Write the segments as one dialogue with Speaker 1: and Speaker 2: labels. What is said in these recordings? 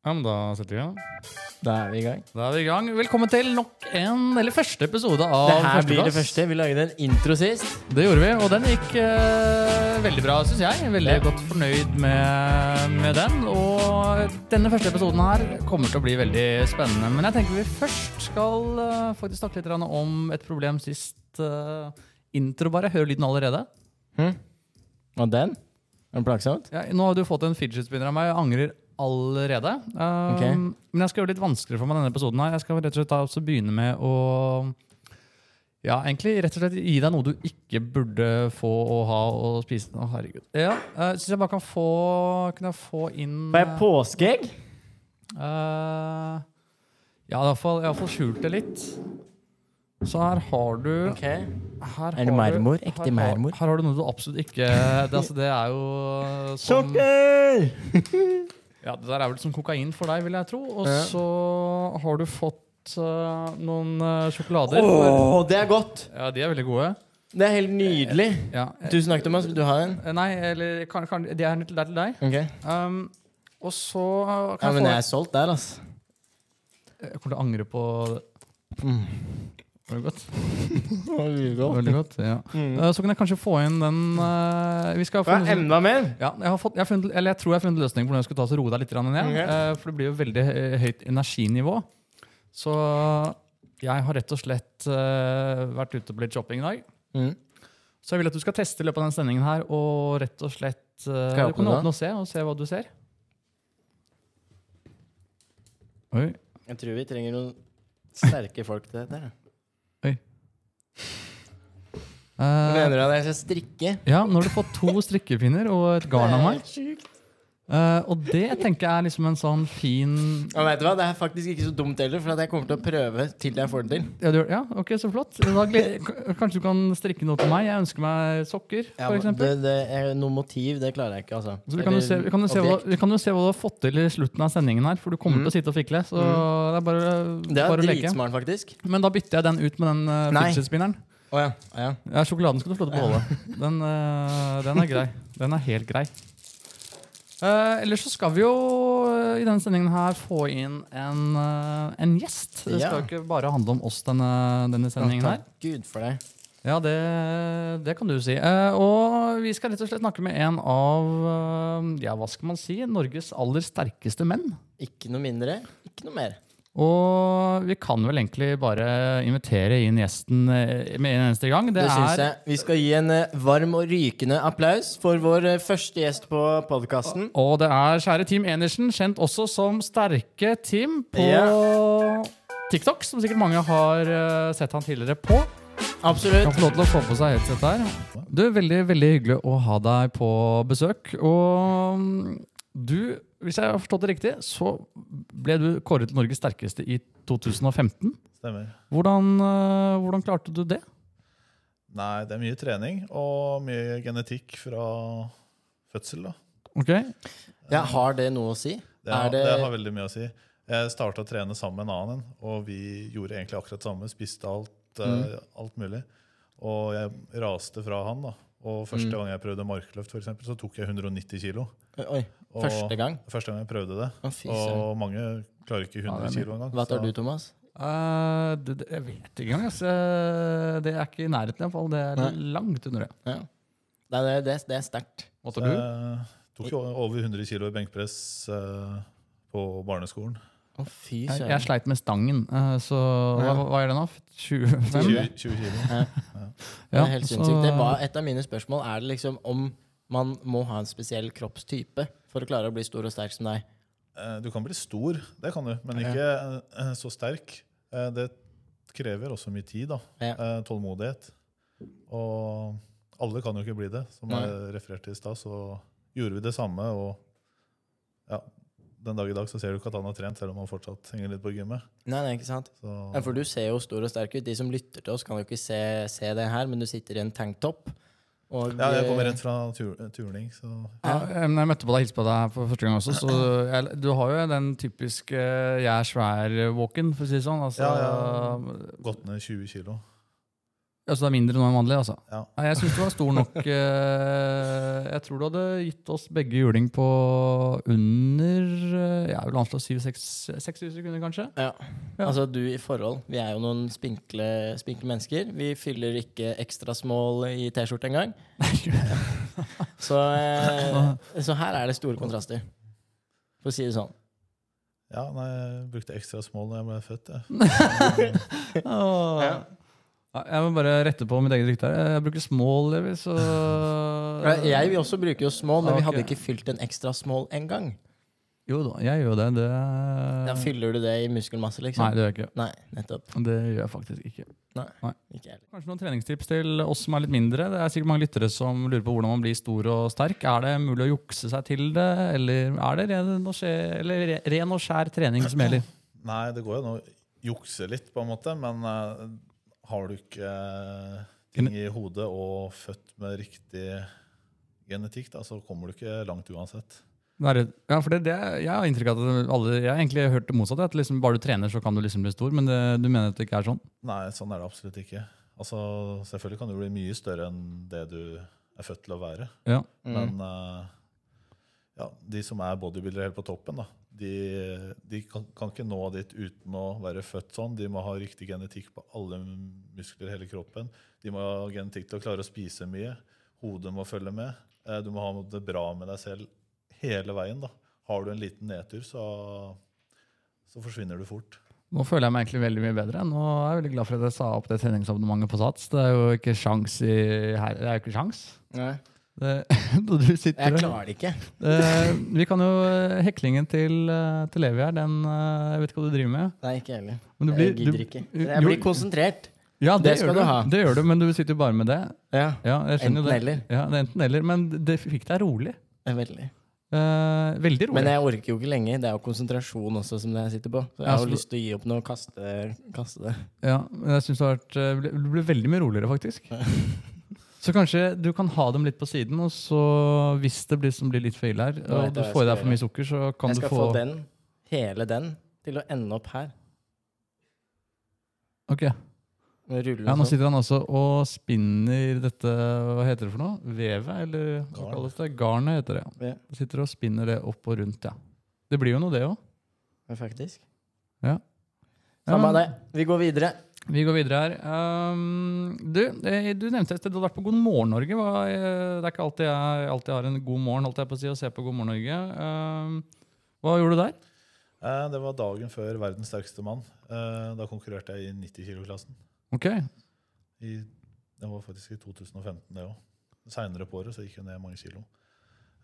Speaker 1: Ja, men da setter vi i gang.
Speaker 2: Da er vi i gang.
Speaker 1: Da er vi i gang. Velkommen til nok en, eller første episode av
Speaker 2: Det her blir
Speaker 1: Førsteplass.
Speaker 2: det første. Vi lagde en intro sist.
Speaker 1: Det gjorde vi, og den gikk eh, veldig bra, syns jeg. Veldig
Speaker 2: Ja.
Speaker 1: godt fornøyd med, med den. Og denne første episoden her kommer til å bli veldig spennende. Men jeg tenker vi først skal eh, faktisk snakke litt grann om et problem sist eh, intro, bare. Hører lyden allerede?
Speaker 2: Hm? Og den? Er det plagsomt?
Speaker 1: Ja, nå har du fått en fidget spinner av meg. Jeg angrer allerede. Um,
Speaker 2: Ok.
Speaker 1: Men jeg skal gjøre det litt vanskeligere for meg denne episoden. her. Jeg skal rett og slett da også begynne med å ja, egentlig rett og slett gi deg noe du ikke burde få å ha og spise. Å, herregud. Ja, uh, Syns jeg bare kan få Kan jeg få inn
Speaker 2: Får jeg påskeegg?
Speaker 1: eh, Ja, i hvert fall- jeg har iallfall skjult det litt. Så her har du her
Speaker 2: Er det
Speaker 1: har du-
Speaker 2: marmor?
Speaker 1: her
Speaker 2: Ekte
Speaker 1: har-
Speaker 2: marmor?
Speaker 1: Her har du noe du absolutt ikke Det, altså, det er jo som-
Speaker 2: Sukker!
Speaker 1: Ja, Det der er vel som kokain for deg, vil jeg tro. Og
Speaker 2: Ja.
Speaker 1: så har du fått eh, noen eh, sjokolader.
Speaker 2: Åh, det er godt!
Speaker 1: Ja, De er veldig gode.
Speaker 2: Det er helt nydelig.
Speaker 1: Ja. eh,
Speaker 2: Du snakket om den. Skulle du ha en?
Speaker 1: Nei, eller kan, kan, de er litt der til deg.
Speaker 2: Ok.
Speaker 1: Um, og så
Speaker 2: Ja,
Speaker 1: kan
Speaker 2: men jeg
Speaker 1: jeg
Speaker 2: er solgt der, altså.
Speaker 1: få Jeg kommer til å angre på det.
Speaker 2: Mm.
Speaker 1: Var det godt?
Speaker 2: Hva
Speaker 1: Veldig godt, ja.
Speaker 2: Mm.
Speaker 1: Eh, så kan jeg kanskje få inn den eh, Vi skal få
Speaker 2: er
Speaker 1: noe som-
Speaker 2: enda mer?
Speaker 1: ja, jeg, har fått, jeg, har funnet, eller jeg tror jeg har funnet løsningen på hvordan jeg skal ta oss og roe deg litt grann ned.
Speaker 2: Ok.
Speaker 1: eh, For det blir jo veldig eh, høyt energinivå. Så jeg har rett og slett eh, vært ute på litt shopping i dag.
Speaker 2: Mm.
Speaker 1: Så jeg vil at du skal teste i løpet av denne sendingen her, og rett og slett eh,
Speaker 2: Skal jeg
Speaker 1: Du kan
Speaker 2: åpne den?
Speaker 1: åpne og se, og se hva du ser. Oi.
Speaker 2: Jeg tror vi trenger noen sterke folk til dette. her.
Speaker 1: Eh,
Speaker 2: Mener du at jeg skal strikke?
Speaker 1: ja, nå har du fått to strikkepinner og et garn av meg.
Speaker 2: Det er sjukt.
Speaker 1: Eh, og det tenker jeg er liksom en sånn fin
Speaker 2: Og vet du hva, Det er faktisk ikke så dumt heller, for at jeg kommer til å prøve til jeg får det til.
Speaker 1: Ja, du, gjør- ja ok, så flott. Da, gled- k- kanskje du kan strikke noe til meg? Jeg ønsker meg sokker, for
Speaker 2: men
Speaker 1: eksempel.
Speaker 2: det, det er noe motiv, det klarer jeg ikke, altså.
Speaker 1: Så vi kan, jo se, vi, kan jo se hva, vi kan jo se hva du har fått til i slutten av sendingen her, for du kommer til å sitte og fikle. Så det er bare,
Speaker 2: Mhm. Det er
Speaker 1: bare å leke.
Speaker 2: dritsmart, faktisk.
Speaker 1: Men da bytter jeg den ut med den uh,
Speaker 2: Nei.
Speaker 1: fidget-spinneren.
Speaker 2: Å ja. å ja.
Speaker 1: Ja, sjokoladen skal du få lov til å beholde. Den, eh, den er grei. Den er helt grei. Eh, ellers så skal vi jo eh, i denne sendingen her få inn en, eh, en gjest. Det skal
Speaker 2: Ja.
Speaker 1: jo ikke bare handle om oss denne, denne sendingen her.
Speaker 2: Takk Gud for det.
Speaker 1: Ja, det, det kan du si. Eh, og vi skal rett og slett snakke med en av eh, ja, hva skal man si, Norges aller sterkeste menn.
Speaker 2: Ikke noe mindre, ikke noe mer.
Speaker 1: Og vi kan vel egentlig bare invitere inn gjesten eh, med en eneste gang.
Speaker 2: Det,
Speaker 1: Det,
Speaker 2: syns
Speaker 1: er
Speaker 2: jeg. Vi skal gi en eh, varm og rykende applaus for vår eh, første gjest på podkasten.
Speaker 1: Og det er kjære Team Enersen, kjent også som Sterke Team på TikTok, som sikkert mange har eh, sett han tidligere på. Kan
Speaker 2: Absolutt.
Speaker 1: få lov til å få på seg headset her. Du, veldig, veldig hyggelig å ha deg på besøk. Og mm, du, hvis jeg har forstått det riktig, så ble du kåret til Norges sterkeste i 2015.
Speaker 3: Stemmer.
Speaker 1: Hvordan, eh, hvordan klarte du det?
Speaker 3: Nei, det er mye trening og mye genetikk fra fødsel. da.
Speaker 1: Ok,
Speaker 2: Ja, har det noe å si?
Speaker 3: Det, har-
Speaker 2: Er det,
Speaker 3: det har veldig mye å si. Jeg starta å trene sammen med en annen, og vi gjorde egentlig akkurat det samme. Spiste alt, eh,
Speaker 2: Mm.
Speaker 3: alt mulig. Og jeg raste fra han. da.
Speaker 2: Mm.
Speaker 3: Og første gang jeg prøvde markløft, for eksempel, så tok jeg 190 kilo.
Speaker 2: Oi,
Speaker 3: Og-
Speaker 2: første gang?
Speaker 3: Første gang jeg prøvde det.
Speaker 2: Å, fy søren.
Speaker 3: Og mange klarer ikke 100 kilo engang.
Speaker 2: Hva tar
Speaker 3: så-
Speaker 2: du, Thomas?
Speaker 1: Eh, det, det, jeg vet ikke engang. Altså. Det er ikke i nærheten, iallfall. Det er
Speaker 2: Nei.
Speaker 1: langt under det.
Speaker 2: Ja. Nei, det, det, det er sterkt.
Speaker 1: Måtte du?
Speaker 3: Eh, tok jo over 100 kilo i benkpress eh, på barneskolen.
Speaker 2: Å, fy
Speaker 1: Jeg, jeg
Speaker 2: søren.
Speaker 1: sleit med stangen, eh, så hva, hva er det nå? 25?
Speaker 3: 20, 20 kilo.
Speaker 2: Det er helt sinnssykt. Det
Speaker 1: altså-
Speaker 2: var et av mine spørsmål. Er det liksom om man må ha en spesiell kroppstype for å klare å bli stor og sterk som deg?
Speaker 3: Eh, Du kan bli stor, det kan du, men
Speaker 2: Ja.
Speaker 3: ikke eh, så sterk. Eh, Det krever også mye tid, da.
Speaker 2: Ja.
Speaker 3: Eh, Tålmodighet. Og alle kan jo ikke bli det. Som
Speaker 2: Nei.
Speaker 3: jeg refererte til i stad, så gjorde vi det samme, og ja, den dag i dag så ser du ikke at han har trent, selv om han fortsatt henger litt på gymmet.
Speaker 2: Nei, nei, ikke sant?
Speaker 3: Så
Speaker 2: Ja, for du ser jo stor og sterk ut. De som lytter til oss, kan jo ikke se, se det her, men du sitter i en tanktopp. Og,
Speaker 3: ja, jeg kommer rett fra tur turning, så
Speaker 1: Ja, eh, men jeg møtte på deg hilste på deg for første gang også. Så jeg, du har jo den typiske eh, 'jeg er svær'-walken, for å si det sånn. Altså,
Speaker 3: Ja, gått ned 20 kilo.
Speaker 1: altså det er mindre nå enn vanlig, altså.
Speaker 3: Ja.
Speaker 1: Nei, Jeg syns du var stor nok. eh, Jeg tror du hadde gitt oss begge juling på under eh, ja, vel å anslå 7-6 6000 sekunder, kanskje.
Speaker 2: Ja.
Speaker 1: Ja.
Speaker 2: Altså du i forhold. Vi er jo noen spinkle, spinkle mennesker. Vi fyller ikke ekstra small i T-skjorte engang. så, eh, så her er det store kontraster, for å si det sånn.
Speaker 3: Ja, nei, jeg brukte ekstra small da jeg ble født. Jeg.
Speaker 1: Åh. Ja, Jeg må bare rette på mitt eget rykte her. Jeg bruker small, jeg, så
Speaker 2: Jeg vil også bruke jo small, men vi hadde
Speaker 1: Ok.
Speaker 2: ikke fylt en ekstra small engang.
Speaker 1: Jo da, jeg gjør det. Det
Speaker 2: Da fyller du det i muskelmasse, liksom.
Speaker 1: Nei, det gjør jeg ikke.
Speaker 2: Nei, nettopp.
Speaker 1: Det gjør jeg faktisk ikke.
Speaker 2: Ikke jeg.
Speaker 1: Kanskje noen treningstips til oss som er litt mindre. Det er sikkert mange lyttere som lurer på hvordan man blir stor og sterk. Er det mulig å jukse seg til det, eller er det ren og skje- eller re- ren og skjær trening som gjelder?
Speaker 3: Nei, det går jo an å jukse litt, på en måte, men eh, har du ikke eh, ting i hodet og født med riktig genetikk, da, så kommer du ikke langt uansett.
Speaker 1: Det er- Ja, for det, det, jeg har inntrykk av at alle, jeg har egentlig hørt det motsatte. At liksom, bare du trener, så kan du liksom bli stor. Men det, du mener at det ikke er sånn?
Speaker 3: Nei, sånn er det absolutt ikke. Altså, Selvfølgelig kan du bli mye større enn det du er født til å være.
Speaker 1: Ja.
Speaker 2: Mm.
Speaker 3: Men eh, ja, de som er bodybuildere helt på toppen, da, de, de kan, kan ikke nå dit uten å være født sånn. De må ha riktig genetikk på alle muskler i hele kroppen. De må ha genetikk til å klare å spise mye. Hodet må følge med. Eh, Du må ha det bra med deg selv hele veien. da. Har du en liten nedtur, så, så forsvinner du fort.
Speaker 1: Nå føler jeg meg egentlig veldig mye bedre. Nå er jeg veldig glad for at jeg sa opp det treningsabonnementet på Sats. Det er jo ikke sjans i her. Det er jo ikke sjans.
Speaker 2: Nei.
Speaker 1: Det, du sitter
Speaker 2: Jeg
Speaker 1: og-
Speaker 2: klarer det ikke.
Speaker 1: Eh, vi kan jo eh, Heklingen til, eh, til Levi her, den eh, Jeg vet ikke hva du driver med.
Speaker 2: Nei, ikke jeg heller.
Speaker 1: Men du
Speaker 2: Jeg
Speaker 1: blir-
Speaker 2: gidder
Speaker 1: du-
Speaker 2: ikke.
Speaker 1: jo-
Speaker 2: Jeg blir konsentrert.
Speaker 1: Ja, det,
Speaker 2: Det skal
Speaker 1: gjør
Speaker 2: du
Speaker 1: du.
Speaker 2: ha.
Speaker 1: Det gjør du, men du sitter jo bare med det.
Speaker 2: Ja,
Speaker 1: Ja, jeg skjønner jo
Speaker 2: Enten
Speaker 1: det.
Speaker 2: eller.
Speaker 1: Ja, det er enten eller. Men det fikk deg rolig.
Speaker 2: veldig.
Speaker 1: Eh, veldig rolig.
Speaker 2: Men jeg orker jo ikke lenge. Det er jo konsentrasjon også som det jeg sitter på. Så jeg
Speaker 1: Ja,
Speaker 2: har
Speaker 1: så
Speaker 2: jo
Speaker 1: du-
Speaker 2: lyst til å gi opp nå og kaste, kaste det.
Speaker 1: Ja, men jeg synes det har vært, eh, ble, Du ble veldig mye roligere, faktisk. Så kanskje du kan ha dem litt på siden, og så hvis det blir, som blir litt for ille her,
Speaker 2: vet
Speaker 1: og du
Speaker 2: jeg hva
Speaker 1: får i
Speaker 2: jeg
Speaker 1: deg
Speaker 2: skal
Speaker 1: for mye sukker, så kan
Speaker 2: Jeg
Speaker 1: du
Speaker 2: skal få
Speaker 1: få
Speaker 2: den, hele den, til å ende opp her.
Speaker 1: Ok,
Speaker 2: Med rulle
Speaker 1: ja,
Speaker 2: og
Speaker 1: Nå
Speaker 2: sånn.
Speaker 1: sitter han altså og spinner dette Hva heter det for noe? Vevet, eller hva
Speaker 3: Garn.
Speaker 1: kalles det? Garnet heter det. ja.
Speaker 2: Ja.
Speaker 1: Du Sitter og spinner det opp og rundt, ja. Det blir jo noe, det òg.
Speaker 2: Ja, Faktisk.
Speaker 1: Ja. Ja.
Speaker 2: Samme av det. Vi går videre.
Speaker 1: Vi går videre her. Um, du, eh, du nevnte et sted du hadde vært på God morgen Norge. Hva, eh, det er ikke alltid jeg alltid har en god morgen holdt jeg på å si, å se på God morgen Norge. Um, hva gjorde du der?
Speaker 3: Eh, Det var dagen før verdens sterkeste mann. Eh, Da konkurrerte jeg i 90 kilo-klassen.
Speaker 1: Ok,
Speaker 3: I, det var faktisk i 2015, det òg. Seinere på året så gikk jeg ned mange kilo.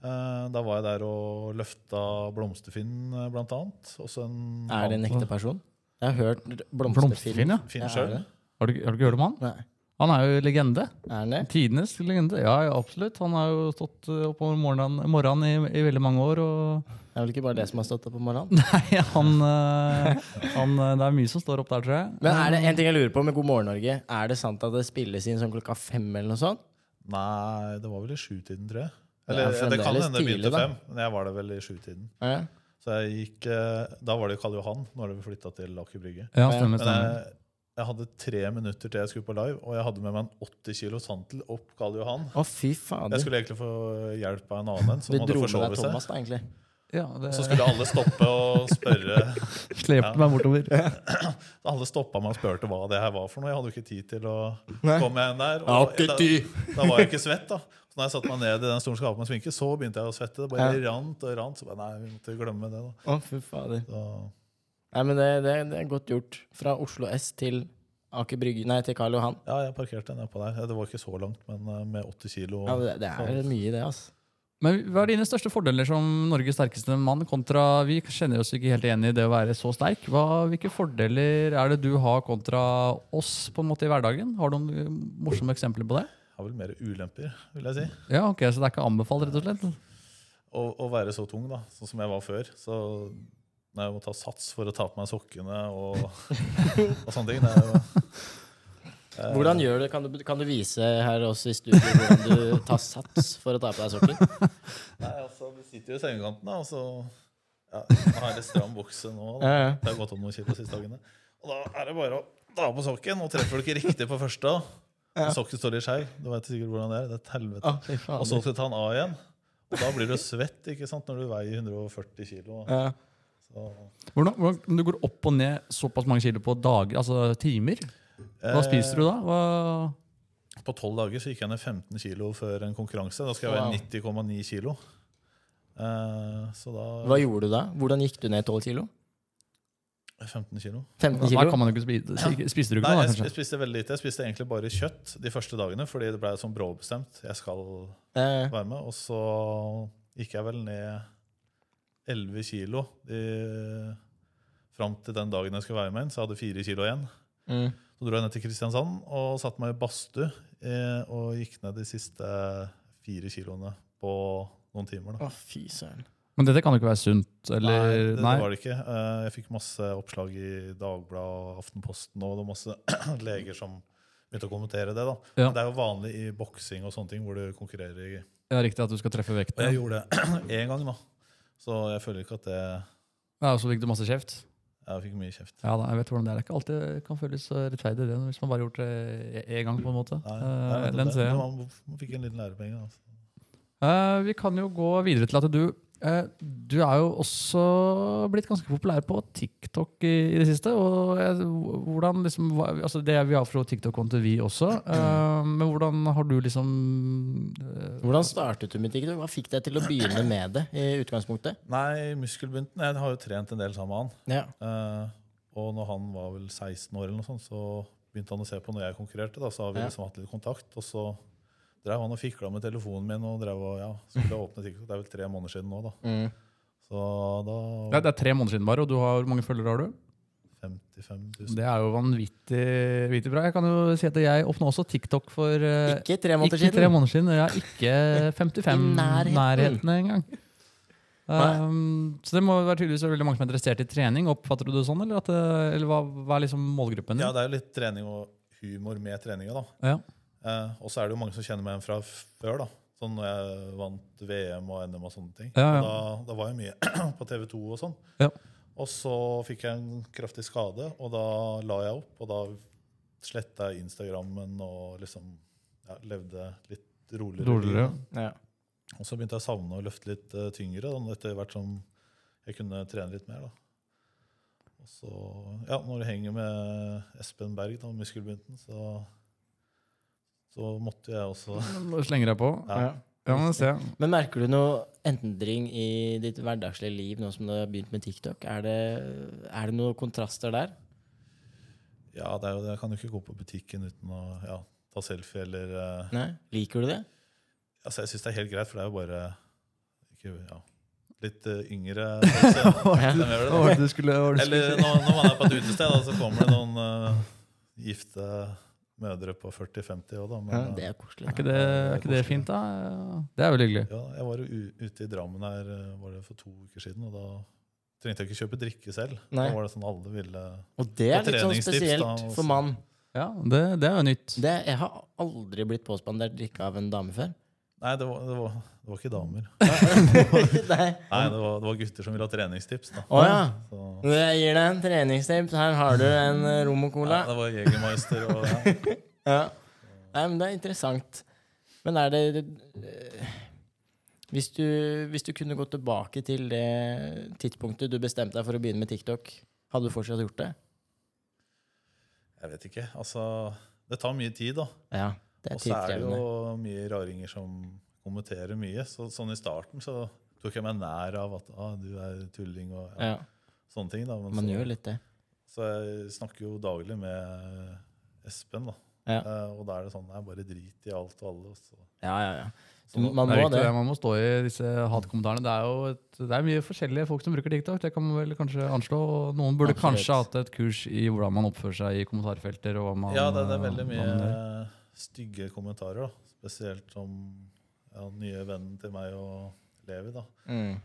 Speaker 3: Eh, da var jeg der og løfta Blomsterfinn, eh, blant annet. Også en
Speaker 2: Er det en ekte person? Jeg har hørt
Speaker 1: Blomsterfinn,
Speaker 2: blomsterfilm.
Speaker 1: ja.
Speaker 3: Finn
Speaker 2: Ja, er
Speaker 3: sjøl.
Speaker 2: det?
Speaker 1: Har du, har du ikke hørt om han?
Speaker 2: Nei.
Speaker 1: Han er jo legende.
Speaker 2: Er den det?
Speaker 1: Tidenes legende. Ja, ja, absolutt. Han har jo stått eh, opp om morgenen, morgenen i, i veldig mange år. Og
Speaker 2: Det er vel ikke bare det som har stått opp om morgenen?
Speaker 1: nei, han, eh, han eh, Det er mye som står opp der, tror jeg.
Speaker 2: Men er det en ting jeg lurer på med God morgen Norge? Er det sant at det spilles inn sånn klokka fem eller noe sånt?
Speaker 3: Nei, det var vel i sjutiden, tror jeg.
Speaker 2: Det er
Speaker 3: Eller, det, kan
Speaker 2: fremdeles
Speaker 3: hende det
Speaker 2: tidlig,
Speaker 3: begynte
Speaker 2: da.
Speaker 3: fem, men jeg var der vel i sjutiden.
Speaker 2: Ja.
Speaker 3: Så jeg gikk, eh, Da var det jo Karl Johan. Nå har vi flytta til Aker Brygge.
Speaker 1: Ja, stemmer.
Speaker 3: Men
Speaker 1: stemmer.
Speaker 3: jeg, jeg hadde tre minutter til jeg skulle på live, og jeg hadde med meg en 80 kilo santel opp Karl Johan.
Speaker 2: Å, fy
Speaker 3: Jeg
Speaker 2: fader.
Speaker 3: skulle egentlig få hjelp av en annen en
Speaker 2: Du
Speaker 3: som hadde
Speaker 2: dro med deg
Speaker 3: forsovet seg.
Speaker 2: Thomas, da, egentlig.
Speaker 1: Ja,
Speaker 3: Og
Speaker 1: det
Speaker 3: Så skulle alle stoppe og spørre
Speaker 1: slepte meg bortover.
Speaker 3: Alle stoppa meg og spurte hva det her var for noe. Jeg hadde jo ikke tid til å
Speaker 2: Nei.
Speaker 3: komme igjen der.
Speaker 2: Jeg har ikke
Speaker 3: da,
Speaker 2: tid.
Speaker 3: da var jeg ikke svett, da. Så når jeg satte meg ned i den stolen skapen med sminke, så begynte jeg å svette. Det bare rant og rant. Så bare, nei, vi måtte jo glemme det, da.
Speaker 2: Å, fy fader.
Speaker 3: Så,
Speaker 2: Nei, men det, det, det er godt gjort. Fra Oslo S til Aker Brygge Nei, til Karl Johan.
Speaker 3: ja, jeg parkerte nedpå der. Det var ikke så langt, men eh, med 80 kilo
Speaker 2: Ja, det, det er mye i det, altså.
Speaker 1: Men hva er dine største fordeler som Norges sterkeste mann, kontra vi kjenner oss ikke helt igjen i det å være så sterk? Hva, hvilke fordeler er det du har kontra oss på en måte i hverdagen? Har du noen eh, morsomme eksempler på det?
Speaker 3: Har vel mer ulemper, vil jeg si.
Speaker 1: Ja, ok, Så det er ikke anbefalt, rett og slett?
Speaker 3: Å, å være så tung, da, sånn som jeg var før. Så når jeg må ta sats for å ta på meg sokkene og, og sånne ting det er jo, eh,
Speaker 2: Hvordan gjør du det? Kan du, kan du vise her også i studio hvordan du tar sats for å ta på deg sokken?
Speaker 3: Nei, altså, du sitter jo i sengekanten, da, og så ja, jeg har jeg litt stram bukse nå. Da.
Speaker 2: Ja, ja.
Speaker 3: Det har gått opp noen kilo de siste dagene. Og da er det bare å ta på sokken, og treffer du ikke riktig på første, og sokken står litt skeiv, du vet sikkert hvordan det er, det er et helvete.
Speaker 1: Ah,
Speaker 2: Å, fy
Speaker 3: Og så
Speaker 2: fader.
Speaker 3: skal du ta den av igjen, og da blir du svett ikke sant, når du veier 140 kilo.
Speaker 2: Ja.
Speaker 3: Så,
Speaker 1: Hvordan, hvordan, om du går opp og ned såpass mange kilo på dager, altså timer, hva
Speaker 3: Eh,
Speaker 1: spiser du da? Hva,
Speaker 3: På tolv dager så gikk jeg ned 15 kilo før en konkurranse. Da skal jeg være 90,9 kilo. Eh, så da
Speaker 2: Hva gjorde du da? Hvordan gikk du ned 12 kilo?
Speaker 3: 15 kilo.
Speaker 2: 15
Speaker 1: da kan
Speaker 2: kilo?
Speaker 1: man jo ikke spise. Spiser du ikke noe da,
Speaker 3: Nei, jeg, sp-
Speaker 1: kanskje?
Speaker 3: jeg spiste veldig lite. Jeg spiste egentlig bare kjøtt de første dagene, fordi det ble sånn bråbestemt. Jeg skal
Speaker 2: Eh,
Speaker 3: være med. Og så gikk jeg vel ned 11 kilo i, fram til den dagen jeg skulle være med igjen. Så jeg hadde 4 kilo igjen.
Speaker 2: mm.
Speaker 3: Så dro jeg ned til Kristiansand og satte meg i badstue eh, og gikk ned de siste fire kiloene på noen timer. Da.
Speaker 2: Å, fy søren.
Speaker 1: Men dette kan jo ikke være sunt, eller?
Speaker 3: Nei, det,
Speaker 1: Nei.
Speaker 3: det var det ikke. Eh, Jeg fikk masse oppslag i Dagbladet og Aftenposten, og det var masse leger som begynte å kommentere det. da.
Speaker 1: Ja.
Speaker 3: Det er jo vanlig i boksing og sånne ting hvor du konkurrerer. i.
Speaker 1: Det er riktig at du skal treffe
Speaker 3: Og
Speaker 1: vekten.
Speaker 3: jeg gjorde det én gang, da. så jeg føler ikke at det
Speaker 1: Ja, og så fikk du masse kjeft.
Speaker 3: Jeg fikk mye kjeft.
Speaker 1: Ja, da, jeg vet hvordan det er. Det er ikke alltid det kan føles eh, rettferdig det, hvis man bare har gjort det eh, én gang, på en måte.
Speaker 3: Nei,
Speaker 1: Eh,
Speaker 3: jeg vet
Speaker 1: den
Speaker 3: det.
Speaker 1: ser jeg.
Speaker 3: Men Man man fikk en liten altså. lærepenge. da.
Speaker 1: Eh, vi kan jo gå videre til at du eh, Du er jo også blitt ganske populær på TikTok i, i det siste. og jeg, hvordan liksom, hva, altså det er Vi har fra TikTok-konto, vi også. eh, men hvordan har du liksom eh,
Speaker 2: Hvordan startet du med TikTok? Hva fikk deg til å begynne med det? i utgangspunktet?
Speaker 3: Nei, muskelbunten Jeg har jo trent en del sammen med han.
Speaker 2: Ja.
Speaker 3: Eh, og når han var vel 16 år, eller noe sånt, så begynte han å se på når jeg konkurrerte. Da, så har vi
Speaker 2: Ja.
Speaker 3: liksom hatt litt kontakt. Og så drev han og fikla med telefonen min og drev og, ja, skulle åpne TikTok. Det er vel tre måneder siden nå, da.
Speaker 2: Mm.
Speaker 3: Så da
Speaker 1: det, er- det er tre måneder siden bare, og du har, hvor mange følgere har du?
Speaker 3: 55 000.
Speaker 1: Det er jo vanvittig, vanvittig bra. Jeg kan jo si at jeg åpna også TikTok for eh,
Speaker 2: Ikke tre måneder
Speaker 1: ikke tre
Speaker 2: siden.
Speaker 1: måneder siden. og Jeg er ikke 55
Speaker 2: I nærheten.
Speaker 1: nærheten engang.
Speaker 2: Nei.
Speaker 1: Um, så det må være tydeligvis veldig mange som er interessert i trening. Oppfatter du det sånn, eller, at det, eller hva, hva er liksom målgruppen?
Speaker 3: Ja,
Speaker 1: din?
Speaker 3: det er jo litt trening og humor med treninga, da.
Speaker 1: Ja.
Speaker 3: Eh, og så er det jo mange som kjenner meg fra før, da. Sånn når jeg vant VM og NM og sånne ting.
Speaker 1: Ja, ja.
Speaker 3: Og Da, da var jeg mye på TV 2 og sånn.
Speaker 1: Ja.
Speaker 3: Og så fikk jeg en kraftig skade, og da la jeg opp. Og da sletta jeg Instagrammen og liksom ja, levde litt roligere. liv.
Speaker 1: Roligere.
Speaker 2: Ja.
Speaker 3: Og så begynte jeg å savne å løfte litt eh, tyngre da, etter hvert som jeg kunne trene litt mer. da. Og så, ja, Når det henger med Espen Berg, da, muskelbunten, så, så måtte jeg også
Speaker 1: Nå Slenger jeg på.
Speaker 3: Ja.
Speaker 2: Ja.
Speaker 1: Ja, men se.
Speaker 2: Men merker du noe endring i ditt hverdagslige liv nå som du har begynt med TikTok? Er det, er det noen kontraster der?
Speaker 3: Ja, det er jo, jeg kan jo ikke gå på butikken uten å ja, ta selfie eller eh,
Speaker 2: Nei? Liker du det?
Speaker 3: altså, Jeg syns det er helt greit, for det er jo bare ikke, ja, litt eh, yngre folk som-
Speaker 2: Ja.
Speaker 3: som gjør det. da.
Speaker 1: Å, du skulle, å, du skulle-
Speaker 3: Eller når, når man er på et utested, da, så kommer det noen eh, gifte mødre på 40-50 òg, da. Men,
Speaker 2: Ja,
Speaker 3: eh,
Speaker 2: det er koselig.
Speaker 1: er, ikke det, er ikke det fint, da? Det er veldig hyggelig.
Speaker 3: Ja, jeg var jo u- ute i Drammen her eh, var det for to uker siden, og da trengte jeg ikke kjøpe drikke selv.
Speaker 2: Nei.
Speaker 3: Da var det sånn alle ville
Speaker 2: Og det er
Speaker 3: Og
Speaker 2: litt sånn
Speaker 3: treningstips, da,
Speaker 2: spesielt
Speaker 3: også.
Speaker 2: for mann.
Speaker 1: Ja, det, det er jo nytt.
Speaker 2: Det, jeg har aldri blitt påspandert drikke av en dame før.
Speaker 3: Nei, det var, det var, det var ikke damer.
Speaker 2: Nei.
Speaker 3: Nei, det var, det var gutter som ville ha treningstips. da.
Speaker 2: Å ja.
Speaker 3: Så,
Speaker 2: Jeg gir deg en treningstips. Her har du en eh, rom og
Speaker 3: ja,
Speaker 2: cola.
Speaker 3: det var Jegermeister og ja.
Speaker 2: Ja. Nei, men det er interessant. Men er det eh, hvis du, hvis du kunne gått tilbake til det tidspunktet du bestemte deg for å begynne med TikTok, hadde du fortsatt gjort det?
Speaker 3: Jeg vet ikke. Altså, det tar mye tid, da.
Speaker 2: Ja. Det er
Speaker 3: Og så er det
Speaker 2: tidkrevende.
Speaker 3: jo mye raringer som kommenterer mye. Så, sånn i starten så tok jeg meg nær av at ah, du er tulling og ja,
Speaker 2: Ja,
Speaker 3: sånne ting. da. Men
Speaker 2: man
Speaker 3: så,
Speaker 2: gjør litt det.
Speaker 3: Så jeg snakker jo daglig med Espen, da.
Speaker 2: Ja.
Speaker 3: Eh, og da er det sånn Nei, bare drit i alt og alle. og Så.
Speaker 2: Ja, ja, ja.
Speaker 3: Så nå-
Speaker 2: Man
Speaker 1: Det er
Speaker 2: må
Speaker 1: riktig,
Speaker 2: det.
Speaker 1: det. Man må stå i disse hatkommentarene. Det er jo et, det er mye forskjellige folk som bruker TikTok. Det kan man vel kanskje anslå. Og Noen burde
Speaker 2: Absolutt.
Speaker 1: kanskje hatt et kurs i hvordan man oppfører seg i kommentarfelter. og hva man...
Speaker 3: ja, det, det er veldig
Speaker 1: hva
Speaker 3: mye
Speaker 1: man gjør.
Speaker 3: eh, stygge kommentarer, da. Spesielt om ja, den nye vennen til meg og Levi, da.
Speaker 2: Mm.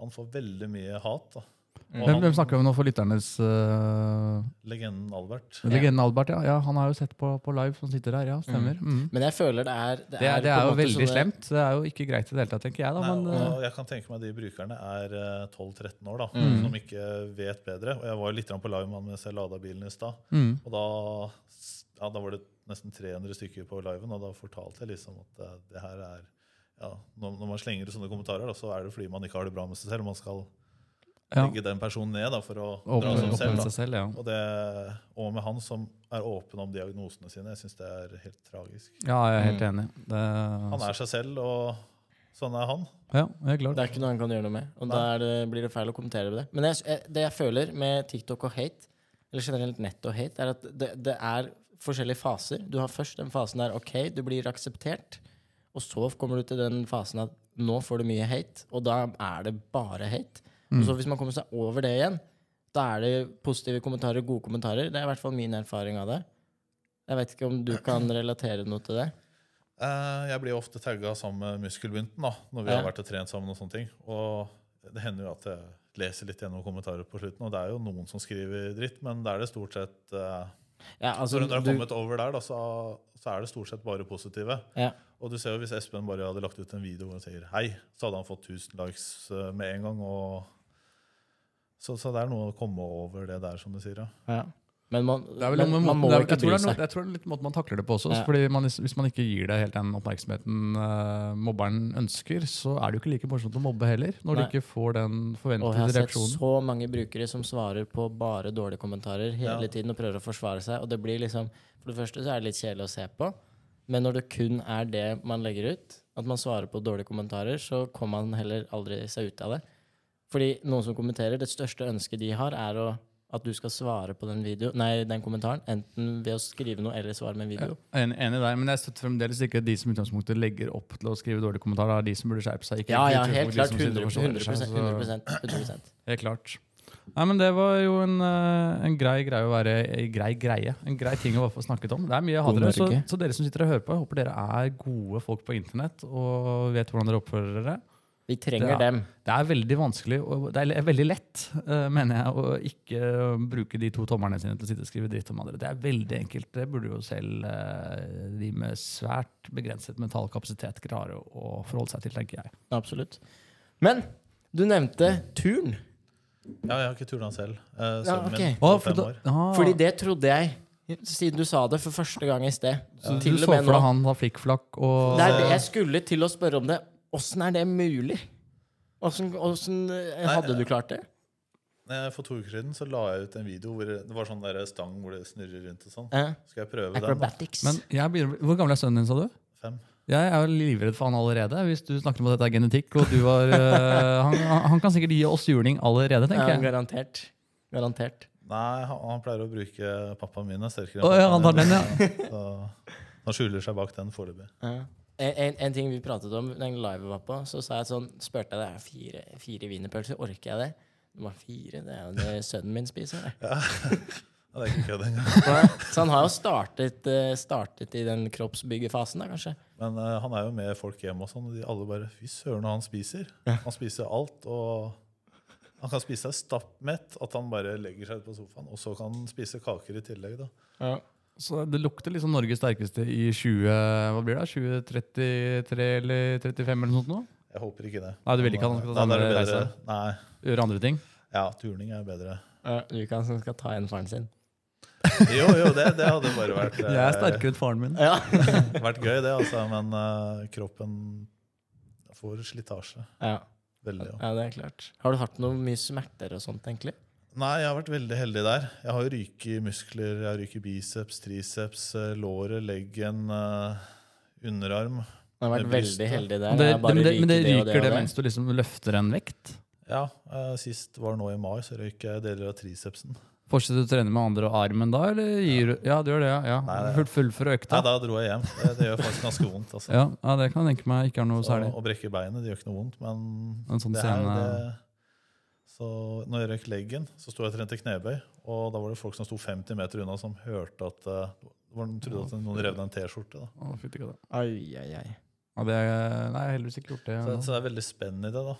Speaker 3: Han får veldig mye hat, da. Og
Speaker 1: Hvem,
Speaker 3: han,
Speaker 1: hvem snakker vi om nå for lytternes øh,
Speaker 3: legenden Albert.
Speaker 1: Legenden Albert, ja. ja. Han har jo sett på, på live som sitter her. Ja, stemmer. Mm.
Speaker 2: Men jeg føler det er
Speaker 1: Det, er, det er
Speaker 2: på en
Speaker 1: jo
Speaker 2: måte sånn
Speaker 1: veldig
Speaker 2: sånne-
Speaker 1: slemt. Det er jo ikke greit i det hele tatt, tenker jeg. da, men...
Speaker 3: Nei,
Speaker 1: øh,
Speaker 3: og jeg kan tenke meg de brukerne er eh, 12-13 år, da,
Speaker 2: Mm.
Speaker 3: som ikke vet bedre. Og jeg var jo litt grann på live med han mens jeg lada bilen i stad.
Speaker 1: mm.
Speaker 3: Og da, ja, da var det nesten 300 stykker på liven, og da fortalte jeg liksom at det, det her er ja, når, når man slenger ut sånne kommentarer, da, så er det fordi man ikke har det bra med seg selv. Man skal
Speaker 1: Ja.
Speaker 3: legge den personen ned da, for å dra
Speaker 1: Åpne
Speaker 3: seg
Speaker 1: opp
Speaker 3: opp selv.
Speaker 1: med
Speaker 3: Da.
Speaker 1: seg selv, ja.
Speaker 3: Og, det, og med han som er åpen om diagnosene sine. Jeg syns det er helt tragisk.
Speaker 1: Ja, jeg er helt enig. Det,
Speaker 3: Mm. Han er seg selv, og sånn er han.
Speaker 1: ja, jeg er klar.
Speaker 2: Det er ikke noe han kan gjøre noe med. Og da er det, blir det feil å kommentere det. Men jeg, jeg- det jeg føler med TikTok og hate, eller generelt nett og hate, er at det, det er forskjellige faser. Du har først den fasen der OK, du blir akseptert. Og så kommer du til den fasen at nå får du mye hate, og da er det bare hate. Og
Speaker 1: Mm.
Speaker 2: så hvis man kommer seg over det igjen, da er det positive kommentarer, gode kommentarer. Det er i hvert fall min erfaring av det. Jeg vet ikke om du kan relatere noe til det.
Speaker 3: Eh, Jeg blir jo ofte tagga sammen med muskelbunten da, når vi
Speaker 2: Ja.
Speaker 3: har vært og trent sammen. Og sånne ting. Og det hender jo at jeg leser litt gjennom kommentarer på slutten, og det er jo noen som skriver dritt, men da er det stort sett eh,
Speaker 2: Ja, altså,
Speaker 3: Når du har
Speaker 2: du-
Speaker 3: kommet over der, da, så, så er det stort sett bare positive.
Speaker 2: ja.
Speaker 3: Og du ser jo hvis Espen bare hadde lagt ut en video hvor han sier hei, så hadde han fått 1000 likes eh, med en gang. Og så, så det er noe å komme over det der, som du sier. Ja.
Speaker 2: Ja. Men man,
Speaker 1: Det er vel
Speaker 2: men
Speaker 1: noe med
Speaker 2: man
Speaker 1: måten-
Speaker 2: må
Speaker 1: det er-
Speaker 2: ikke
Speaker 1: jeg tror det
Speaker 2: bry
Speaker 1: er
Speaker 2: seg.
Speaker 1: noe- Jeg tror det er litt måten man takler det på også.
Speaker 2: Ja.
Speaker 1: Fordi man, Hvis man ikke gir det helt den oppmerksomheten eh, mobberen ønsker, så er det jo ikke like morsomt å mobbe heller. Når
Speaker 2: Nei.
Speaker 1: du ikke får den
Speaker 2: Og jeg har
Speaker 1: forventede
Speaker 2: sett
Speaker 1: reaksjonen.
Speaker 2: så mange brukere som svarer på bare dårlige kommentarer hele
Speaker 3: Ja.
Speaker 2: tiden og prøver å forsvare seg. Og det blir liksom, For det første så er det litt kjedelig å se på, men når det kun er det man legger ut, at man svarer på dårlige kommentarer, så kommer man heller aldri seg ut av det. Fordi noen som kommenterer, det største ønsket de har, er å, at du skal svare på den, video, nei, den kommentaren, enten ved å skrive noe eller svare med en video.
Speaker 1: Jeg er Enig, enig i deg, men jeg støtter fremdeles ikke de som i utgangspunktet legger opp til å skrive dårlige kommentarer. Det er de som burde skjerpe seg. Ikke
Speaker 2: Ja, ja,
Speaker 1: ikke liksom
Speaker 2: helt
Speaker 1: de
Speaker 2: klart.
Speaker 1: som sitter
Speaker 2: 100,
Speaker 1: og
Speaker 2: 100,
Speaker 1: forsvarer seg, så-
Speaker 2: 100%.
Speaker 1: Helt klart. Nei, men Det var jo en, eh, en grei greie å være en grei greie. En grei ting å få snakket om. Det er mye jeg hater.
Speaker 2: God
Speaker 1: Så,
Speaker 2: Norge.
Speaker 1: så dere som sitter og hører på, jeg håper dere er gode folk på internett og vet hvordan dere oppfører dere.
Speaker 2: Vi trenger
Speaker 1: Ja.
Speaker 2: dem.
Speaker 1: Det er veldig vanskelig, og det er le- veldig lett, eh, mener jeg, å ikke bruke de to tommerne sine til å sitte og skrive dritt om andre. Det er veldig enkelt. Det burde jo selv eh, de med svært begrenset mental kapasitet klare å å forholde seg til, tenker jeg.
Speaker 2: Absolutt. Men du nevnte turn.
Speaker 3: Ja, jeg har ikke turna selv. Eh,
Speaker 2: Ja,
Speaker 3: Sønnen
Speaker 2: ok.
Speaker 3: min på
Speaker 1: Å, for
Speaker 3: fem
Speaker 1: da-
Speaker 3: år.
Speaker 1: ah,
Speaker 2: Fordi det trodde jeg, siden du sa det for første gang i sted.
Speaker 1: så
Speaker 2: Til
Speaker 1: du
Speaker 2: og
Speaker 1: så
Speaker 2: med
Speaker 1: for
Speaker 2: nå.
Speaker 1: deg han har flikkflakk og
Speaker 2: Det er det jeg skulle til å spørre om det. Åssen er det mulig? Åssen åssen, eh, hadde du klart det?
Speaker 3: Eh, For to uker siden så la jeg ut en video hvor det var sånn der stang hvor det snurrer rundt. og sånn.
Speaker 2: Eh,
Speaker 3: Skal jeg prøve den? da?
Speaker 2: acrobatics.
Speaker 1: Men jeg begynner, Hvor gammel er sønnen din, sa du?
Speaker 3: Fem.
Speaker 1: Jeg er jo livredd for han allerede. Hvis du snakker om at dette er genetikk, og du var eh, han, han kan sikkert gi oss juling allerede,
Speaker 2: ja,
Speaker 1: tenker jeg.
Speaker 2: garantert. Garantert.
Speaker 3: Nei, han, han pleier å bruke pappaen min. er sterkere
Speaker 1: Å, ja,
Speaker 3: pappaen
Speaker 1: han tar
Speaker 3: min,
Speaker 1: den, ja.
Speaker 3: Så han skjuler seg bak den foreløpig.
Speaker 2: Ja. En, en, en ting vi pratet om den live vi var på, så sa jeg sånn, spurte jeg deg fire, fire wienerpølser. Orker jeg det? Det var fire. Det er jo det sønnen min spiser. det.
Speaker 3: Ja, det er ikke kødd engang.
Speaker 2: Så han har jo startet, eh, startet i den kroppsbyggefasen, da, kanskje.
Speaker 3: Men eh, han er jo med folk hjemme og sånn, og de alle bare Fy søren, hva han spiser. Han spiser alt, og han kan spise seg stappmett, at han bare legger seg ut på sofaen. Og så kan han spise kaker i tillegg, da.
Speaker 2: Ja.
Speaker 1: Så det lukter liksom Norges sterkeste i 20, hva blir det, 2033 eller 35 eller noe sånt nå?
Speaker 3: Jeg håper ikke det.
Speaker 1: Nei, du vil ikke at han skal ta
Speaker 3: Nei, da er det
Speaker 1: samme
Speaker 3: bedre- Nei.
Speaker 1: Gjøre andre ting.
Speaker 3: Ja, turning er bedre.
Speaker 2: Ja, Lukan som skal ta igjen faren sin.
Speaker 3: Jo, jo, det, det hadde bare vært, eh,
Speaker 1: Jeg er sterkere enn faren min.
Speaker 2: Ja.
Speaker 3: vært gøy, det, altså. Men eh, kroppen får slitasje.
Speaker 2: ja.
Speaker 3: Veldig. Ja.
Speaker 2: det er klart. Har du hatt noe mye smerter og sånt, egentlig?
Speaker 3: Nei, jeg har vært veldig heldig der. Jeg har jo ryke i muskler. Jeg har ryke i biceps, triceps, eh, låret, leggen, eh, underarm.
Speaker 2: Du har vært
Speaker 3: Med brystet.
Speaker 2: veldig heldig der.
Speaker 1: Men det,
Speaker 2: Jeg bare
Speaker 1: men det, men det
Speaker 2: liker og
Speaker 1: ryker det
Speaker 2: og
Speaker 1: mens du liksom løfter en vekt?
Speaker 3: Ja, eh, sist var nå i mai, så røyk jeg deler av tricepsen.
Speaker 1: Fortsetter du å trene med andre armen da, eller gir du Ja, du gjør det, ja. ja.
Speaker 3: Nei, det-
Speaker 1: Fullt fullfør
Speaker 3: Nei,
Speaker 1: økta?
Speaker 3: da dro jeg hjem. Det, det gjør faktisk ganske vondt. Altså.
Speaker 1: Ja, ja, det kan jeg tenke meg ikke er noe
Speaker 3: og,
Speaker 1: særlig.
Speaker 3: å brekke beinet det gjør ikke noe vondt, men
Speaker 1: En sånn
Speaker 3: det her,
Speaker 1: scene
Speaker 3: det, Så når jeg røyk leggen, så sto jeg og trente knebøy, og da var det folk som sto 50 meter unna, som hørte at eh, hvor De trodde at noen rev ned en T-skjorte. da.
Speaker 1: Å, fytti katta.
Speaker 2: Ai, ai, ai.
Speaker 1: Ja, det er- Nei, jeg har heldigvis ikke gjort det.
Speaker 3: Så,
Speaker 1: nå.
Speaker 3: så det er veldig spenn i det. da.